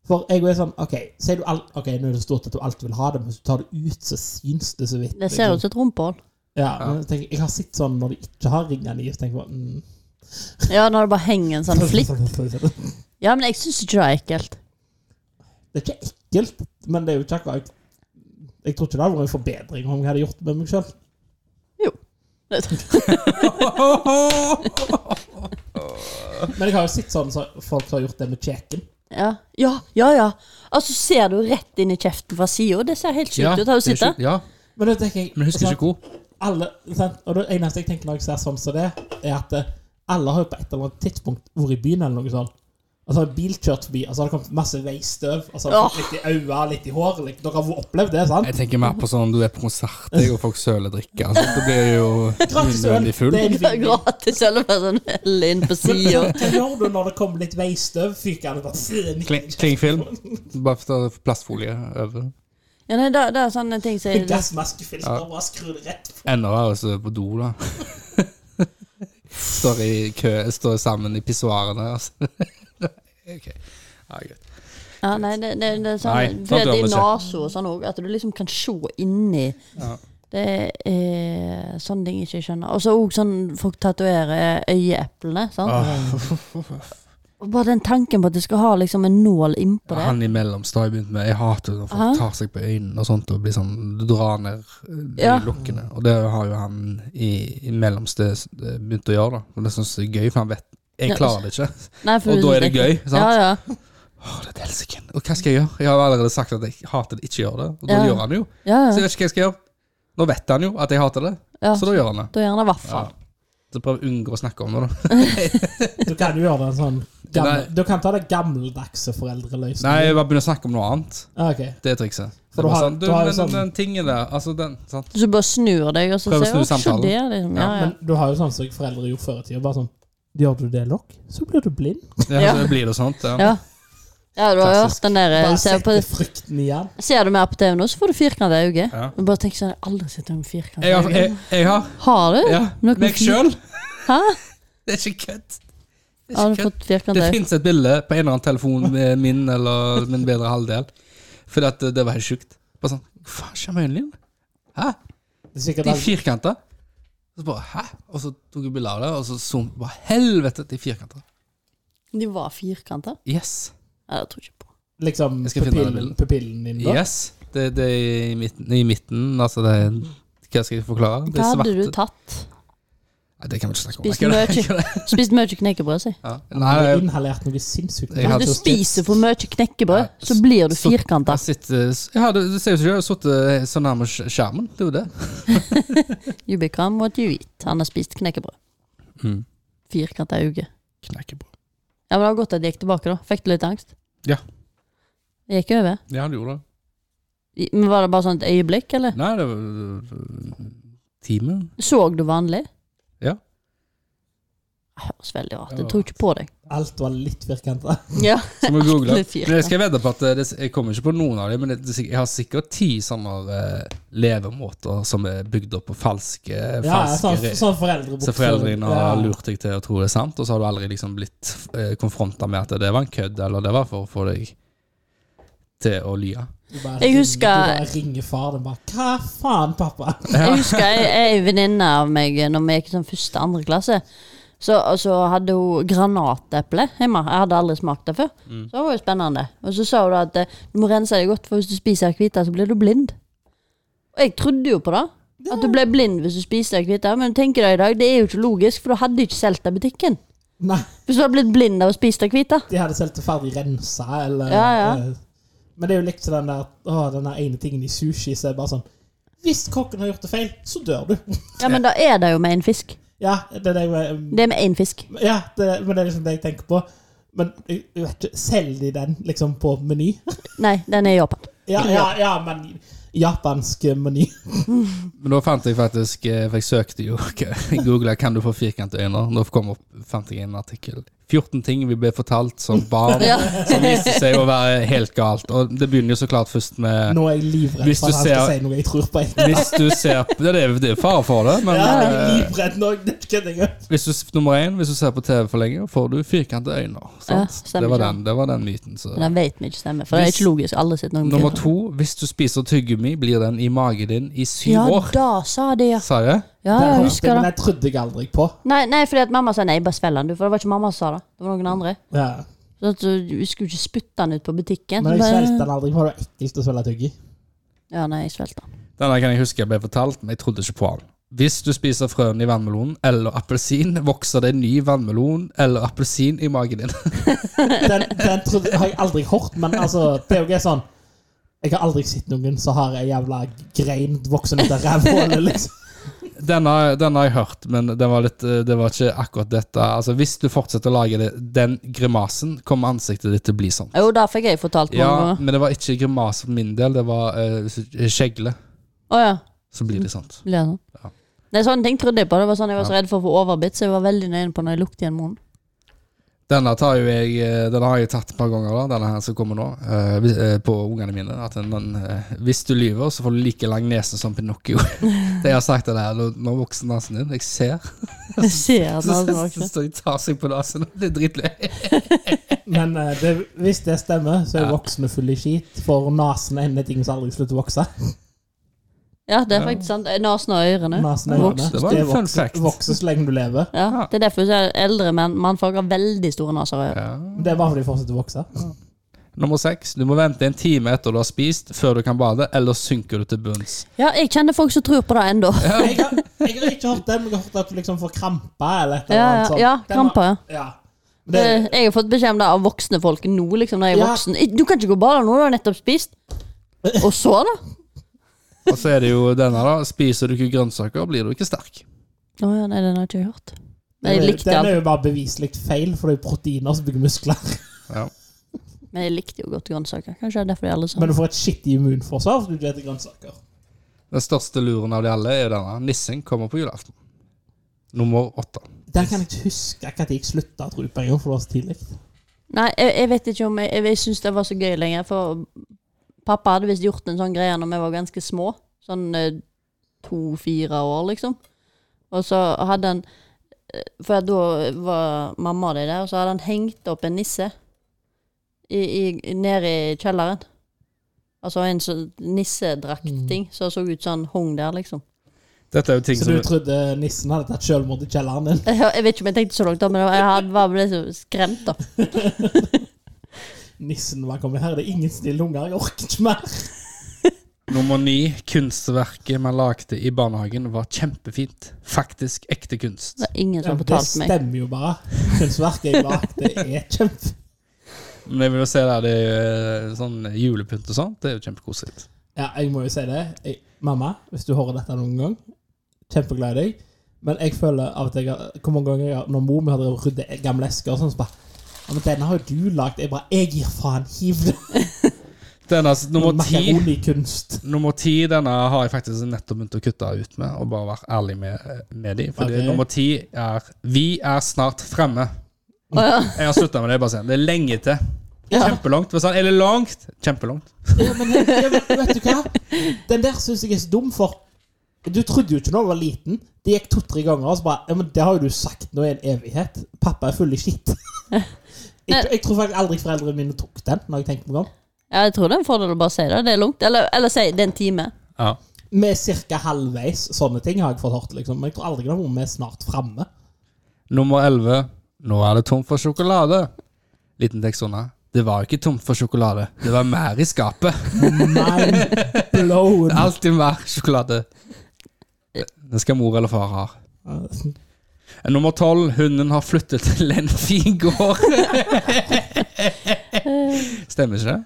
S2: For jeg er sånn OK, sier du alt, ok, nå er det stort at du alltid vil ha det, men hvis du tar det ut, så syns det så vidt.
S4: Det ser ut som et rumpehull.
S2: Ja, men jeg, tenker, jeg har sett sånn når de ikke har ringene i, så tenker jeg bare mm.
S4: Ja, når det bare henger en sånn flipp. Ja, men jeg syns ikke det er ekkelt.
S2: Det er ikke ekkelt, men det er jo ikke akkurat Jeg tror ikke det hadde vært en forbedring om jeg hadde gjort det med meg sjøl. [laughs] Men jeg har jo sett sånn så folk som har gjort det med kjeken.
S4: Ja, ja, ja. ja. Og så ser du rett inn i kjeften fra sida. Det ser helt sjukt ut. Har du
S3: det er
S4: sett det?
S3: sjukt. Ja,
S2: Men det tenker jeg
S3: men jeg husker
S2: sant,
S3: ikke hvor.
S2: alle, sant? Og det eneste jeg tenker når jeg ser sånn som det, er at eh, alle har jo på et eller annet tidspunkt vært i byen eller noe sånt. Og så har en bil kjørt forbi, og så har det kommet masse veistøv. Og så har det fått litt i øynene, litt i håret. Liksom. Dere har opplevd det, sant?
S3: Jeg tenker mer på sånn du er på konsert, jeg, og folk søledrikker. Altså, det blir jo
S2: [laughs] Gratis øl!
S3: unødvendig full.
S2: Det er en
S4: Det er
S2: vinn-vinn.
S4: Gratis eller bare sånn hell inn på sida.
S2: Hva gjør du når det kommer litt veistøv? Fyker det bare
S3: Kling- Klingfilm. Bare for å ta plastfolie over.
S4: Ja, nei, det, det er sånne ting som
S2: En
S4: jeg
S2: gassmaskefilter og bare skrur det rett på.
S3: Enda verre hvis du er på do, da. Står i kø, står sammen i pissoarene. Altså. Ok. Ja, greit.
S4: Ja, nei, det, det, det er
S3: Nei,
S4: sånn
S3: sant
S4: For det
S3: det
S4: er
S3: ikke.
S4: nesa og sånn òg, at du liksom kan se inni.
S3: Ja.
S4: Det er sånne ting jeg ikke skjønner. Og så òg sånn folk tatoverer øyeeplene. Sant?
S3: Ah.
S4: Og bare den tanken på at du skal ha liksom en nål innpå det.
S3: Han i mellomstad har jeg begynt med. Jeg hater når
S4: Aha.
S3: folk tar seg på øynene og sånt og blir sånn Du drar ned de
S4: Ja.
S3: lukkene. Og det har jo han i, i mellomste s- eh, begynt å gjøre, da. Og det syns jeg er gøy, for han vet Jeg
S4: Ja.
S3: klarer det ikke.
S4: Nei, for
S3: Og
S4: du
S3: da
S4: synes
S3: er det gøy,
S4: ekkelt.
S3: sant?
S4: Ja, ja.
S3: Å, det er et helsike. Og hva skal jeg gjøre? Jeg har allerede sagt at jeg hater det, ikke gjør det. Og da
S4: Ja.
S3: gjør han det jo.
S4: ja,
S3: Så
S4: ja.
S3: jeg vet ikke hva jeg skal gjøre. Nå vet han jo at jeg hater det,
S4: ja.
S3: så da gjør han det.
S4: Da gjør han det i hvert fall.
S3: Så prøv å unngå å snakke om det, da.
S2: Du kan jo gjøre det en sånn gammel,
S3: Nei.
S2: Du kan ta det gammeldagse foreldreløsningen.
S3: Nei, jeg bare begynner å snakke om noe annet.
S2: Ah, ok.
S3: Det er trikset.
S2: For du
S3: Det er bare
S2: har-
S3: sånn,
S2: du
S3: du,
S2: har jo
S3: men
S2: sånn-
S3: den tingen der, altså den sant?
S4: Så du bare snur deg, og så
S3: Prøv å
S4: ser
S3: snu
S4: du Se
S3: samtalen.
S4: det, liksom. Ja, ja.
S2: Men du har jo sånn som foreldre gjorde før i tida. Bare sånn Gjør du det nok, så blir du blind.
S3: Ja,
S4: Ja.
S3: Så blir det sånt. Ja.
S4: Ja, ja du har
S3: Klassisk.
S4: hørt den der eh,
S2: Bare
S4: ser, på,
S2: sette frykten igjen.
S4: ser du mer på TV nå, så får du firkanta øye.
S3: Ja.
S4: Men Bare tenk sånn, jeg har aldri sett en firkanta
S3: Jeg har,
S4: øye.
S3: jeg, jeg har
S4: Har du?
S3: ja,
S4: Noe
S3: meg
S4: fint.
S3: sjøl.
S4: Hæ?
S3: Det er ikke kødd. Det,
S4: Har du
S3: er ikke kødd.
S4: fått firkanta
S3: det
S4: øye?
S3: fins et bilde på en eller annen telefon med min eller min bedre halvdel. Fordi at det var helt sjukt. Bare sånn Hva faen skjer med øynene dine? Hæ?
S2: Det er sikkert
S3: De
S2: alt-
S3: firkanta. Så bare Hæ? Og så tok jeg bilde av det, og så zoom. Bare helvete, de firkanta.
S4: De var firkanta?
S3: Yes.
S4: Nei, det tror jeg ikke på.
S2: liksom
S3: Jeg skal finne den
S2: pupillen,
S3: bilden.
S2: pupillen din, da.
S3: Yes. Det, det er i midten, i midten. Altså, det er Hva skal jeg forklare? Det
S4: Hva
S3: er
S4: hadde du
S3: svarte-
S4: tatt?
S3: Nei, det kan vi ikke snakke om.
S4: Spist
S3: er ikke det?
S4: mye.
S3: Er ikke det?
S4: Spist mye knekkebrød, si.
S3: Ja.
S2: Du
S3: Nei,
S2: har
S3: jeg-
S2: inhalert noe sinnssykt.
S3: Jeg
S4: Hvis
S3: hadde
S4: du spiser for mye
S3: Nei,
S4: knekkebrød, så blir du
S3: så-
S4: firkanta.
S3: jeg sitter- ja, du, du ser jo ikke, jeg har sittet eh, så nærme sk- skjermen. Det er jo det.
S4: You become what you eat. Han har spist knekkebrød.
S3: Mm.
S4: Firkanta øye.
S3: Knekkebrød.
S4: Ja, men det var godt at det gikk tilbake, da. Fikk du litt angst?
S3: Ja.
S4: Det gikk over?
S3: Ja, du gjorde det.
S4: I- Men Var det bare sånn et øyeblikk, eller?
S3: Nei, det var Time?
S4: Så du vanlig? Ah,
S3: Ja.
S4: Det høres veldig rart ut.
S3: Det var
S4: Jeg tror ikke på deg.
S2: Alt var litt firkanta.
S4: Ja.
S3: Så må vi google.
S4: Atle Fyrtårn.
S3: Men jeg skal vedde på at eh, det, jeg kommer ikke på noen av dem, men det, det, jeg har sikkert ti sånne eh, levemåter som er bygd opp på falske,
S2: Ja, ja,
S3: falske
S2: sånn,
S3: re-
S2: sånn foreldrebukser.
S3: Så foreldrene har
S2: Ja.
S3: lurt deg til å tro det er sant, og så har du aldri liksom blitt eh, konfronta med at det var en kødd, eller det var for å få deg til å lyve.
S2: Du bare
S4: Jeg
S2: ringer-
S4: husker-
S2: Du bare ringer far din bare 'Hva faen, pappa?' [laughs]
S4: eh, Jeg husker ei ei venninne av meg når vi gikk i sånn første andre klasse. Så, og så hadde hun granateple hjemme. Jeg hadde aldri smakt det før.
S3: Mm.
S4: Så det var jo spennende. Og så sa hun da at eh, du må rense deg godt, for hvis du spiser akvita, så blir du blind. Og jeg trodde jo på det. At du ble blind hvis du spiste akvita. Men tenker deg i dag, det er jo ikke logisk, for du hadde ikke solgt det i butikken.
S2: Nei,
S4: Hvis du hadde blitt blind av å spise akvita.
S2: de hadde solgt det ferdig rensa, eller
S4: Ja, ja.
S2: eh, Men det er jo likt som den der å, den der ene tingen i sushi som er bare sånn Hvis kokken har gjort det feil, så dør du. [laughs]
S4: Ja, men da er det jo med en fisk.
S2: ja, det er det jeg
S4: Det er med én fisk.
S2: Ja, det, men det er liksom det jeg tenker på. Men jeg jeg vet ikke, selger de den liksom på meny? [laughs]
S4: Nei, den er i Japan.
S2: ja, ja, ja, men japansk meny.
S3: Men da fant jeg faktisk eh, For jeg søkte jo [laughs] Googla 'Kan du få firkantede øyne?' Da kom opp, fant jeg en artikkel. 14 ting vi ble fortalt som barn
S4: Ja.
S3: som viste seg å være helt galt. Og det begynner jo så klart først med
S2: Nå er jeg livredd
S3: Hvis
S2: for at
S3: du
S2: han skal
S3: ser-
S2: si noe jeg tror på. Jeg.
S3: Hvis du ser på Det er, det er fare for det, men
S2: Ja, jeg er
S3: eh,
S2: livredd nå. Det kødder jeg ikke.
S3: hvis du, nummer én, hvis du ser på TV for lenge, får du firkantede øyne. Sant?
S4: stemmer
S3: det, var
S4: ikke.
S3: den, det var den myten. Så.
S4: Den vet vi ikke stemmer, for det er
S3: Hvis-
S4: ikke logisk. Aldri sett noen
S3: Nummer
S4: film.
S3: to, hvis du spiser tyggegummi, blir den i magen din i syv
S4: Ja,
S3: år.
S4: da sa de ja.
S3: Sa jeg? det?
S4: Ja, jeg
S2: Det hørte jeg,
S4: husker
S2: men
S4: det.
S2: jeg trodde jeg aldri på.
S4: Nei, nei, fordi at mamma sa nei, bare svelg den, du. For det var ikke mamma som sa det. Det var noen andre.
S2: Ja.
S4: Så at du, du skulle ikke spytte den ut på butikken.
S2: Men
S4: Så
S2: jeg
S4: bare-
S2: svelgte den aldri, for det var ekkelt å svelge tygg i.
S4: Ja, nei, jeg svelgte den.
S3: Denne kan jeg huske jeg ble fortalt, men jeg trodde ikke på den. Hvis du spiser frøene i vannmelonen eller appelsin, vokser det en ny vannmelon eller appelsin i magen din. [laughs]
S2: Den, den trodde, har jeg aldri hørt, men altså, det er jo ikke sånn Jeg har aldri sett noen som har ei jævla grein voksende ut av rævhullet, liksom.
S3: Den har, den har jeg hørt, men den var litt, eh, det var ikke akkurat dette. Altså, hvis du fortsetter å lage det, den grimasen, kommer ansiktet ditt til å bli sånn.
S4: Jo, da fikk jeg fortalt mange
S3: Ja,
S4: ganger.
S3: men det var ikke grimaser for min del, det var eh, skjegle.
S4: Å ja.
S3: Så blir det sånt.
S4: Blir det sånn?
S3: Ja.
S4: Nei, sånne ting trodde jeg på. Det var sånn Jeg var så
S3: Ja.
S4: redd for å få overbitt, så jeg var veldig nøye på når jeg lukte igjen munnen.
S3: Denne, tar jo jeg, eh, denne har jeg tatt et par ganger, da, denne her som kommer nå, eh, hvis- eh, på ungene mine. At den, den, eh, hvis du lyver, så får du like lang nese som Pinocchio. [laughs] det jeg har sagt til deg, her, nå- nå vokser nesen din. Jeg ser.
S4: Jeg ser at den
S3: Så,
S4: hadde
S3: så,
S4: vokst.
S3: [laughs] så de tar seg på nesen. [laughs] Det er dritløy.
S2: Men eh, det, hvis det stemmer, så er voksne fulle i skit, for nesen er en ting som aldri slutter å vokse.
S4: Ja, det er faktisk sant. Nesen og ørene.
S2: Nesen er
S4: Vokser.
S2: hjemme.
S3: Det var en
S2: Det
S3: fun
S2: vokser,
S3: fact.
S2: vokser så lenge du lever.
S4: Ja, det er derfor så er eldre menn mannfolk har veldig store naser og ører.
S3: Ja.
S2: Det er bare fordi de fortsetter å vokse.
S3: Nummer seks. Du må vente en time etter du har spist før du kan bade, eller synker du til bunns.
S4: Ja, jeg kjenner folk som tror på det ennå.
S2: Jeg har, jeg har ikke hørt det, men jeg har hørt at du liksom får krampe eller et
S4: Ja,
S2: eller
S4: ja,
S2: annet sånt.
S4: ja,
S2: Den var-
S4: krampe, ja.
S2: Ja. Men Det,
S4: Eh, Jeg har fått beskjed om det av voksne folk nå, liksom, når jeg er
S2: Ja.
S4: voksen. Eh, Du kan ikke gå og bade nå, du har nettopp spist. Og så, da?
S3: Og så er det jo denne, da. Spiser du ikke grønnsaker, blir du ikke sterk.
S4: Å ja, nei, den har jeg ikke hørt. Men jeg likte,
S2: den er
S4: alt.
S2: jo bare beviselig feil, for det er jo proteiner som bygger muskler. [laughs]
S3: Ja.
S4: Men jeg likte jo godt grønnsaker. Kanskje det er derfor de alle sa
S2: Men du får et skittig immunforsvar fordi du spiser grønnsaker.
S3: Den største luren av de alle er jo denne. Nissen kommer på julaften. Nummer åtte.
S2: Der kan jeg ikke huske når jeg slutta å tro på en gang, for det var så tidlig.
S4: Nei, jeg, jeg vet ikke om jeg, jeg, jeg syns det var så gøy lenger, for pappa hadde visst gjort en sånn greie når vi var ganske små. Sånn eh, to-fire år, liksom. Og så hadde han eh, For at da var mamma og de der, og så hadde han hengt opp en nisse i, i, nede i kjelleren. Altså en sånn nissedrakt-ting
S2: Mm.
S4: som så ut som han hung der, liksom. [laughs]
S3: Dette er jo ting
S2: Så
S3: som
S2: du trodde nissen hadde tatt selvmord i kjelleren din? [laughs]
S4: Jeg, jeg vet ikke om jeg tenkte så langt, da, men jeg hadde- var ble så skremt, da.
S2: Nissen var kommet her, det er ingen snille unger, jeg orker ikke mer.
S3: Nummer ni. Kunstverket man lagde i barnehagen var kjempefint. Faktisk ekte kunst.
S4: Det var ingen som
S2: Det
S4: fortalte meg.
S2: stemmer jo bare. Kunstverket jeg lagde, er kjempe...
S3: Men jeg vil jo se der, det er jo eh, sånn julepynt og sånt. Det er jo kjempekoselig.
S2: Ja, jeg må jo si det. Jeg, mamma, hvis du hører dette noen gang, kjempeglad i deg. Men jeg føler av at jeg har Hvor mange ganger jeg har Når mor mi har drevet og ryddet gamle esker og sånn, så bare ja, men 'Denne har jo du lagd.' Jeg bare 'Jeg gir faen. Hiv det!'
S3: Denne, s- altså, nummer ti.
S2: Makaronikunst.
S3: Nummer ti, denne har jeg faktisk nettopp begynt å kutte ut med, og bare være ærlig med, eh, med de. Fordi
S2: Ok.
S3: nummer ti er 'Vi er snart fremme'. Jeg har slutta med det. bare sånn. Det er lenge til. Kjempelangt. Sånn, er det langt? Kjempelangt.
S2: Ja, men jeg, jeg, vet- vet du hva? Den der syns jeg er så dum, for du trodde jo ikke når du var liten. Det gikk to-tre ganger, og så bare ja, men 'Det har jo du sagt nå i en evighet. Pappa er full i
S3: [laughs]
S2: skitt'. Jeg, jeg tror faktisk aldri foreldrene mine tok den, når jeg tenker meg om.
S4: Ja, jeg tror det er en fordel å bare si det. Det er langt. Eller, eller si det er en time.
S3: Ja.
S2: Vi er cirka halvveis. Sånne ting har jeg fått hørt. liksom. Men jeg tror aldri det har vært med snart framme.
S3: Nummer 11. Nå er det tomt for sjokolade. Liten tekst unna. Det var ikke tomt for sjokolade. Det var mer i skapet. [laughs]
S2: Mind blown.
S3: Det er alltid mer sjokolade. Det skal mor eller far ha. Nummer 12. Hunden har flyttet til en [laughs] fin gård. Stemmer ikke det?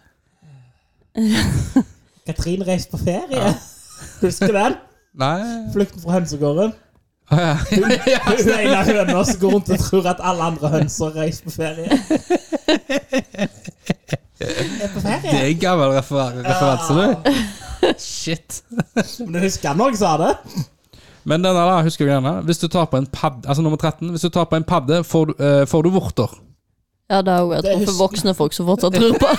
S2: Katrin reiste på ferie. Husker du den?
S3: Nei.
S2: Flukten fra hønsegården.
S3: Å, ja.
S2: Hun er en av høna som går rundt og tror at alle andre hønser reiser på ferie. Er på
S3: Det
S2: ferie.
S3: er en gammel refer referanse, du. Shit.
S2: Men du husker han også sa det?
S3: Men denne da, husker du gjerne. Hvis du tar på en padde, altså nummer 13, hvis du tar på en padde, får, du- eh, får du vorter.
S4: Ja, det har jo jeg
S2: Det
S4: truffet
S2: husker-
S4: voksne folk som fortsatt tror på.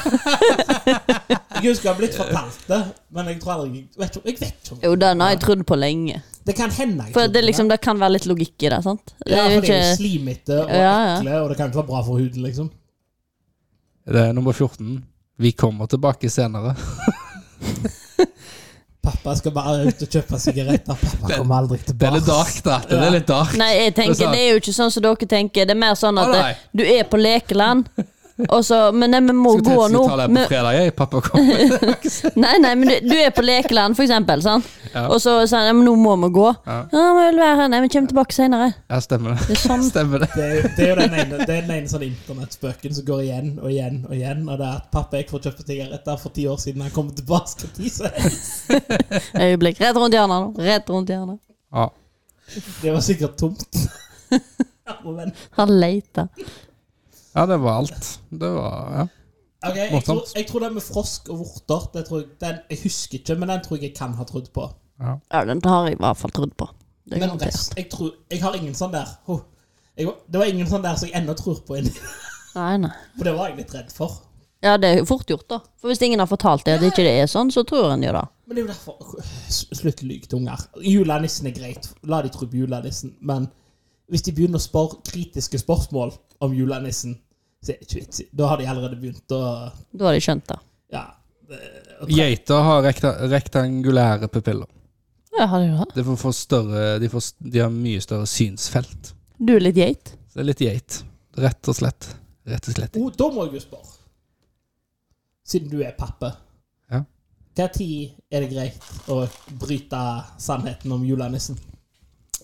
S2: Jeg husker jeg har blitt fortalt det, men jeg tror aldri Jeg vet ikke- jeg vet ikke. om-
S4: [laughs] Jo, den har jeg trodd på lenge.
S2: Det kan hende. jeg
S4: For
S2: tror
S4: det, er liksom, det kan være litt logikk i det, sant? Det
S2: Ja,
S4: er
S2: for
S4: jo
S2: det er jo
S4: ikke
S2: slimete og
S4: Ja, ja.
S2: ekle, og det kan ikke være bra for huden, liksom.
S3: Det er nummer 14. Vi kommer tilbake senere.
S2: Pappa skal bare ut og kjøpe sigaretter. [laughs] Pappa kommer aldri
S3: Den
S2: tilbake.
S3: er dark, da. Den er litt dark.
S4: Nei, jeg tenker, det er jo ikke sånn som dere tenker. Det er mer sånn at
S3: Å,
S4: eh,
S3: nei.
S4: du er på lekeland, og så Men nei, vi må
S3: Skal
S4: gå
S3: til
S4: nå.
S3: å ta det på
S4: Vi-
S3: fredag, jeg.
S4: [laughs]
S3: Pappa kommer.
S4: Nei, nei, men du, du er på lekeland, for eksempel, sant?
S3: Ja.
S4: og så sier han ja, men nå må vi gå. Ja,
S3: Ja.
S4: vi vil være her. Nei, vi kommer tilbake senere.
S3: Ja, stemmer
S4: Det
S3: det.
S4: er sånn.
S3: Stemmer det.
S2: Det er, jo- det er jo den ene, det er den ene sånn internettspøken som går igjen og igjen og igjen. Og det er at pappa jeg får kjøpe sigaretter for ti år siden han kommer tilbake til tise.
S4: Øyeblikk. Rett rundt hjørnet nå. Rett rundt hjørnet.
S3: Ja.
S2: Det var sikkert tomt. [laughs] Jeg må vente.
S4: Han leter.
S3: ja, det var alt. Det var ja.
S2: Ok, jeg, tror,
S3: Morsomt.
S2: jeg tror det med frosk og vorter det tror jeg, den, jeg husker ikke, men den tror jeg jeg kan ha trodd på.
S4: Ja, den har jeg i hvert fall trodd på. Det er
S2: Men
S4: garantert.
S2: rest, jeg, tror, jeg har ingen sånn der Ho. jeg, var- Det var ingen sånn der som jeg ennå tror på. inn-
S4: Nei, nei.
S2: [laughs] For det var jeg litt redd for.
S4: Ja, det er fort gjort, da. For hvis ingen har fortalt det at ikke det er sånn, så tror en jo det.
S2: Men det er jo derfor S- Slutt å lyve til unger. Julenissen er greit. La de tro på julenissen. Men hvis de begynner å spørre kritiske spørsmål om julenissen, så er det ikke vits. i. Da har de allerede begynt å
S4: Da har de skjønt det.
S2: Ja.
S3: Geiter har rekta rektangulære pupiller.
S4: Ja, har de det?
S3: De, får, får større, de, får, de har mye større synsfelt.
S4: Du er litt [laughs] geit.
S3: Så det er litt geit. Rett og slett. Rett og slett.
S2: Oh, da må jeg jo spørre. Siden du er pappa.
S3: Ja.
S2: Hva tid er det greit å bryte sannheten om julenissen?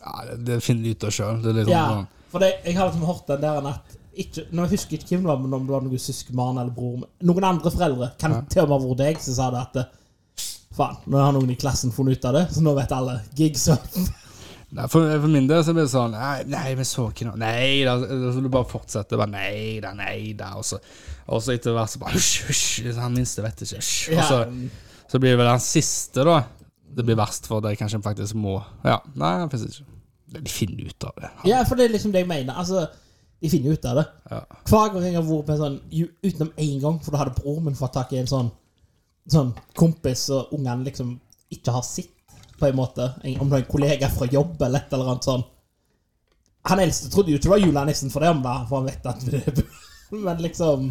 S3: Ja, det, det finner de ut av sjøl. Det er litt
S2: Ja,
S3: sånn.
S2: for det, jeg har liksom hørt den der en at ikke, Nå husker jeg ikke hvem det var, men om det var noen søskenbarn eller bror men Noen andre foreldre, kan
S3: Ja.
S2: til og med ha vært deg, som sa det at eh, Faen, nå har noen i klassen funnet ut av det, så nå vet alle gigs og
S3: Nei, for, for min del så blir det sånn Nei, nei vi så ikke noe Nei da. Så du bare fortsetter. Bare, nei da, nei da. Og så, og så etter hvert så bare hysj, hysj. Han minste vet ikke. Hysj. Og så, så blir det vel den siste, da. Det blir verst for deg, kanskje en faktisk må Ja, Nei, han finnes ikke. De finner ut av det.
S2: Ja, for det er liksom det jeg mener. Altså, de finner jo ut av det.
S3: Ja.
S2: Hver gang jeg har vært på en sånn ju- Utenom én gang, for da hadde broren min fått tak i en sånn Sånn kompis og ungene liksom ikke har sitt, på en måte. En- Om det er en kollega fra jobb eller et eller annet sånn. Han eldste trodde jo ikke det var julenissen for det, om det, for han vet at det [laughs] Men liksom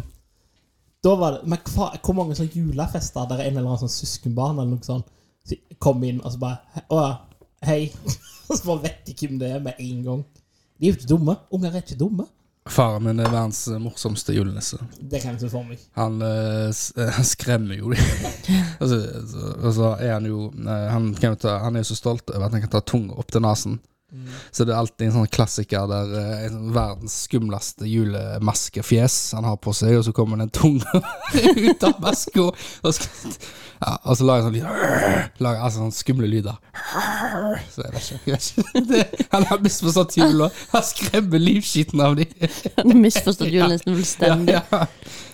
S2: da var det, Men hva, hvor mange sånne julefester der er en eller annen sånn søskenbarn eller noe sånt så kom inn og så bare he- Å, hei. [laughs] Og så bare vet de hvem det er med en gang. De er jo ikke dumme. Unger er ikke dumme.
S3: Faren min er verdens morsomste julenisse.
S2: Det kan jeg ikke se for meg.
S3: Han eh, s- [laughs] eh, han skremmer jo dem. og, så- så- og så er han jo eh, han, kan jo ta, han er jo så stolt over at han kan ta tunga opp til nesen. Så det er alltid en sånn klassiker der eh, en sånn verdens skumleste julemaskefjes han har på seg, og så kommer den tunga [laughs] ut av maska, og, så- ja, og så lager han sånn lyd lager, Altså sånne skumle lyder. Så jeg vet ikke. Jeg vet ikke. [laughs] Det, han har misforstått jula. Han skremmer livskiten av dem. [laughs]
S4: Han har misforstått julenissen fullstendig.
S3: ja.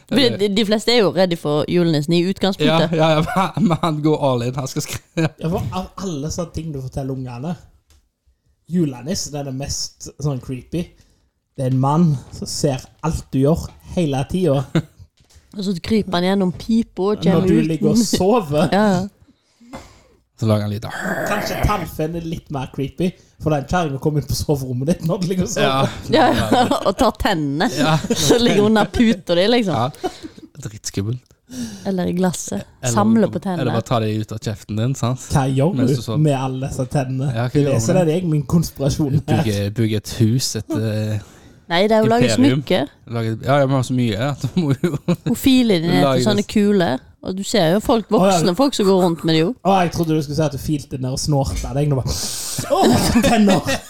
S4: Fordi de- De fleste er jo redde for julenissen i
S3: Ja,
S4: utgangspunktet.
S3: ja, ja, men han- men han går all in. Han skal skrive
S2: Ja, for Av alle sånne ting du forteller ungene Julenissen er det mest sånn creepy. Det er en mann som ser alt du gjør, hele tida.
S4: Og så kryper han gjennom pipa og
S2: Når
S4: [laughs] kommer
S2: du
S4: ut.
S2: ligger og sover.
S4: [laughs] Ja, ja.
S3: Så lager han lyd.
S2: Kanskje tannfen er litt mer creepy, for den kjerringa kom inn på soverommet ditt når du ligger og sover.
S3: Ja,
S4: Ja, [laughs] ja. Og tar tennene.
S3: ja.
S4: [laughs] Så ligger under puta di, liksom.
S3: ja. Dritskummelt.
S4: Eller i glasset.
S3: Eller-
S4: Samle på
S3: Eller
S4: tennene.
S3: bare ta det ut av kjeften din, sant?
S2: Hva gjør
S3: Mens
S2: du
S3: du sover.
S2: med alle disse tennene?
S3: Ja, hva
S2: det
S3: gjør
S2: er
S3: du?
S2: det er jeg, min konspirasjon her.
S3: Bygge, bygge et hus, et eh,
S4: Nei, det er jo å lage
S3: Imperium.
S4: smykker.
S3: lage, Ja, vi har så mye at du må jo
S4: Hun filer de ned
S3: Lager
S4: til sånne kuler. Og du ser jo folk,
S2: ja.
S4: voksne folk som går rundt med det jo.
S2: Å, jeg trodde du skulle si at du filte ned og snorta deg. Nå bare Å, [laughs] tenner!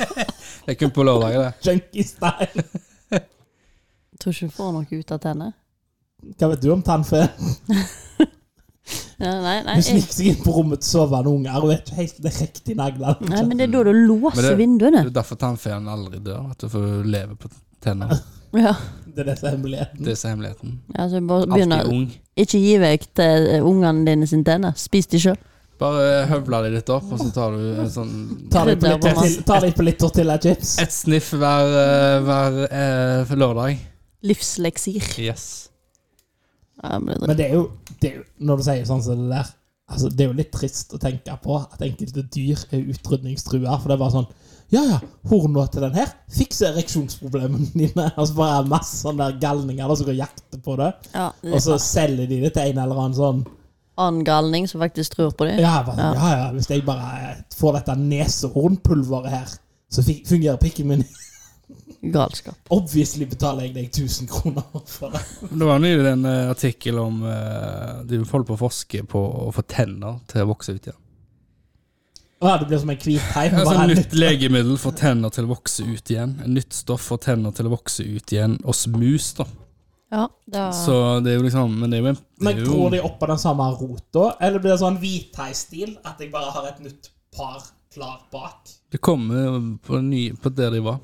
S3: Det er kun på lørdager, det.
S2: Junkie style.
S4: Jeg tror ikke hun får noe ut av tennene.
S2: Hva vet du om tannfe?
S4: Ja, nei, nei,
S2: Hun
S4: jeg,
S2: sniker seg inn på rommet til sovende unger og vet ikke helt det riktige naglene.
S4: nei, men det er da du
S3: Men
S4: låser
S3: det- Det
S4: vinduene.
S3: er derfor tannfeen aldri dør, at du får leve på tenner.
S4: Ja,
S2: Det er det som er hemmeligheten.
S3: Det er så hemmeligheten.
S4: ja så bare begynner
S3: Alltid ung.
S4: Ikke gi vekk til eh, ungene dine sine tenner. Spis de sjøl.
S3: Bare høvla det litt opp, og så tar du en sånn
S2: Ta deg på
S4: Krydder
S2: litt
S4: på
S2: tortilla- ta deg på litt tortilla-chips.
S3: Et sniff hver, eh, hver eh, for lørdag.
S4: Livsleksir.
S3: Yes.
S4: Ja, men det er dritt.
S2: Men det er jo, det er jo Når du sier sånn som det der altså Det er jo litt trist å tenke på at enkelte dyr er utrydningstrua. For det er bare sånn Ja ja, horna til den her fikser ereksjonsproblemene dine. [laughs] Og så bare er det masse sånne der galninger da, som går og jakter på det.
S4: Ja, det er
S2: Og så selger de det til en eller annen sånn
S4: en annen galning som faktisk tror på det.
S2: Ja bare, sånn, ja, ja, hvis jeg bare eh, får dette nesehornpulveret her, så fi- fungerer pikken min.
S4: Galskap.
S2: Obviously betaler jeg deg 1000 kroner for det.
S3: Det var nylig en eh, artikkel om eh, de holder på å forske på å få tenner til å vokse ut igjen.
S2: Ja, det blir som en hvit teip.
S3: Altså,
S2: bare
S3: nytt legemiddel får tenner til å vokse ut igjen. Nytt stoff får tenner til å vokse ut igjen hos mus. da.
S4: Ja, da
S3: Så det er jo liksom Men det er jo en det
S2: Men
S3: er
S2: gror de
S3: jo,
S2: opp på den samme rota, eller blir det sånn hvithai-stil at jeg bare har et nytt par klar bak?
S3: Det kommer på, ny, på der de var.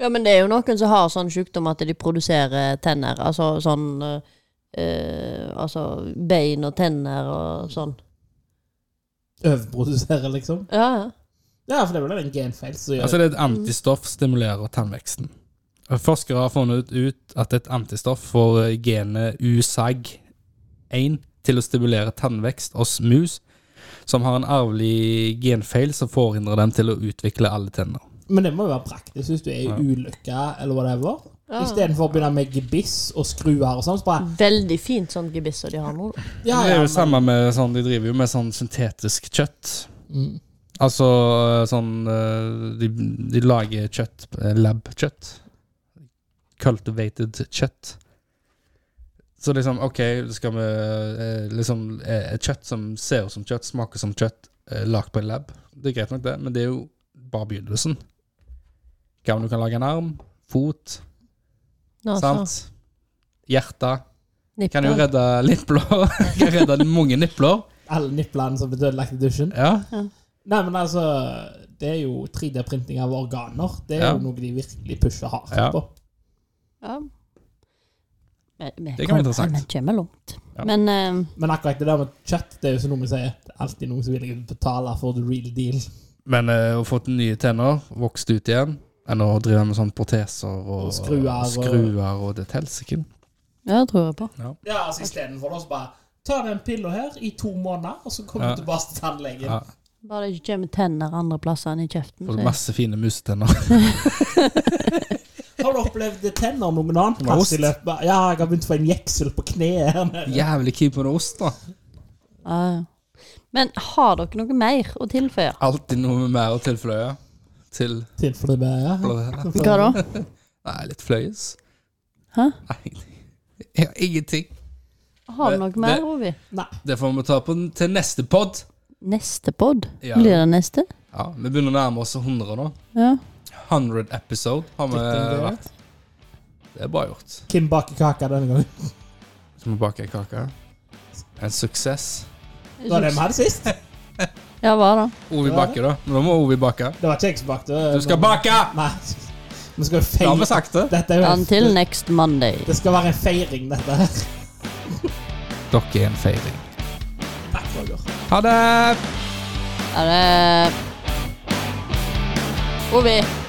S4: Ja, men det er jo noen som har sånn sjukdom at de produserer tenner. Altså sånn eh, Altså bein og tenner og sånn.
S2: Overprodusere, liksom?
S4: Ja, ja.
S2: Ja, for det er vel en genfeil som gjør
S3: Altså, det er et antistoff stimulerer tannveksten. Og Forskere har funnet ut at et antistoff får eh, genet USAG1 til å stimulere tannvekst hos mus, som har en arvelig genfeil som forhindrer dem til å utvikle alle tenner.
S2: Men det må jo være praktisk hvis du er i ulykke eller whatever.
S4: Ja.
S2: Istedenfor å begynne med gebiss og skruer og sånn. Så bare
S4: Veldig fint sånn gebiss som de har nå. da.
S2: Ja,
S3: det
S2: ja.
S3: er jo det
S2: Men,
S3: samme med sånn, De driver jo med sånn syntetisk kjøtt.
S2: Mm.
S3: Altså eh, sånn eh, De, de lager kjøtt, eh, lab-kjøtt. Cultivated kjøtt. Så liksom, OK, så skal vi eh, liksom eh, Et kjøtt som ser ut som kjøtt, smaker som kjøtt, eh, lagd på en lab. Det er greit nok, det, men det er jo bare begynnelsen. Hva om du kan lage en arm, fot,
S4: Ja, så.
S3: sant? Hjerte. Kan jo
S4: Nipper.
S3: redde nippler. [laughs] kan redde mange nippler.
S2: alle niplene som blir ødelagt i dusjen.
S3: Ja.
S2: Nei, men altså Det er jo 3D-printing av organer. Det er
S3: Ja.
S2: jo noe de virkelig pusher hardt
S3: Ja.
S2: på.
S4: Ja. Men- men
S3: Det kan være
S4: kom-
S3: interessant.
S4: Men kommer langt.
S3: Ja.
S4: Men eh,
S2: Men akkurat det der med kjøtt, det er jo som noen sier. Det er alltid noen som vil betale for the real deal.
S3: Men eh, å få nye tenner, vokst ut igjen, enn å drive med sånne proteser og,
S2: Og skruer og-
S3: og, skruer og det til helsike.
S4: ja, det tror jeg på.
S2: Ja, altså istedenfor da, så bare ta den pilla her i to måneder, og så kommer
S3: Ja.
S2: du tilbake til tannlegen.
S3: Ja.
S4: Bare det ikke kommer tenner andre plasser enn i kjeften.
S3: Får
S4: så-
S3: masse fine musetenner. [laughs]
S2: Har du opplevd tenner noen annen
S3: Med
S2: plass
S3: ost?
S2: i løpet? av- Ja, jeg har begynt å få en jeksel på kneet her nede.
S3: Jævlig keen på noe ost, da.
S4: Ja, ja. Men har dere noe mer å tilføye?
S3: Alltid noe med mer å tilfløye. Til
S2: Til for det med, ja.
S3: Nei,
S4: Hva da?
S3: litt fløyes.
S4: Hæ?
S3: Nei, jeg har ingenting.
S4: Har du noe
S3: Det-
S4: mer,
S3: det-
S4: Ovi?
S2: Nei.
S3: Det får vi ta på den til neste pod.
S4: Neste pod?
S3: Ja.
S4: Blir det neste?
S3: Ja, vi begynner å nærme oss 100 nå.
S4: Ja.
S3: 100 episode har vi
S2: Dette er
S3: vært. Det er bra gjort.
S2: Kim baker kake denne gangen.
S3: Skal vi bake en kake? En suksess.
S2: Det var det vi hadde sist.
S4: Ja, hva da?
S3: Ovi baker, da. Men da må Ovi bake.
S2: Det var ikke jeg som bakte.
S3: Du skal bake!
S2: Nei. Vi skal jo
S3: Det har vi
S2: feire.
S3: sagt det.
S2: Dette er jo
S4: Until next Monday.
S2: Det skal være en feiring, dette her.
S3: Dere er en feiring.
S2: Takk, Roger.
S3: Ha det!
S4: Ha det. Ovi.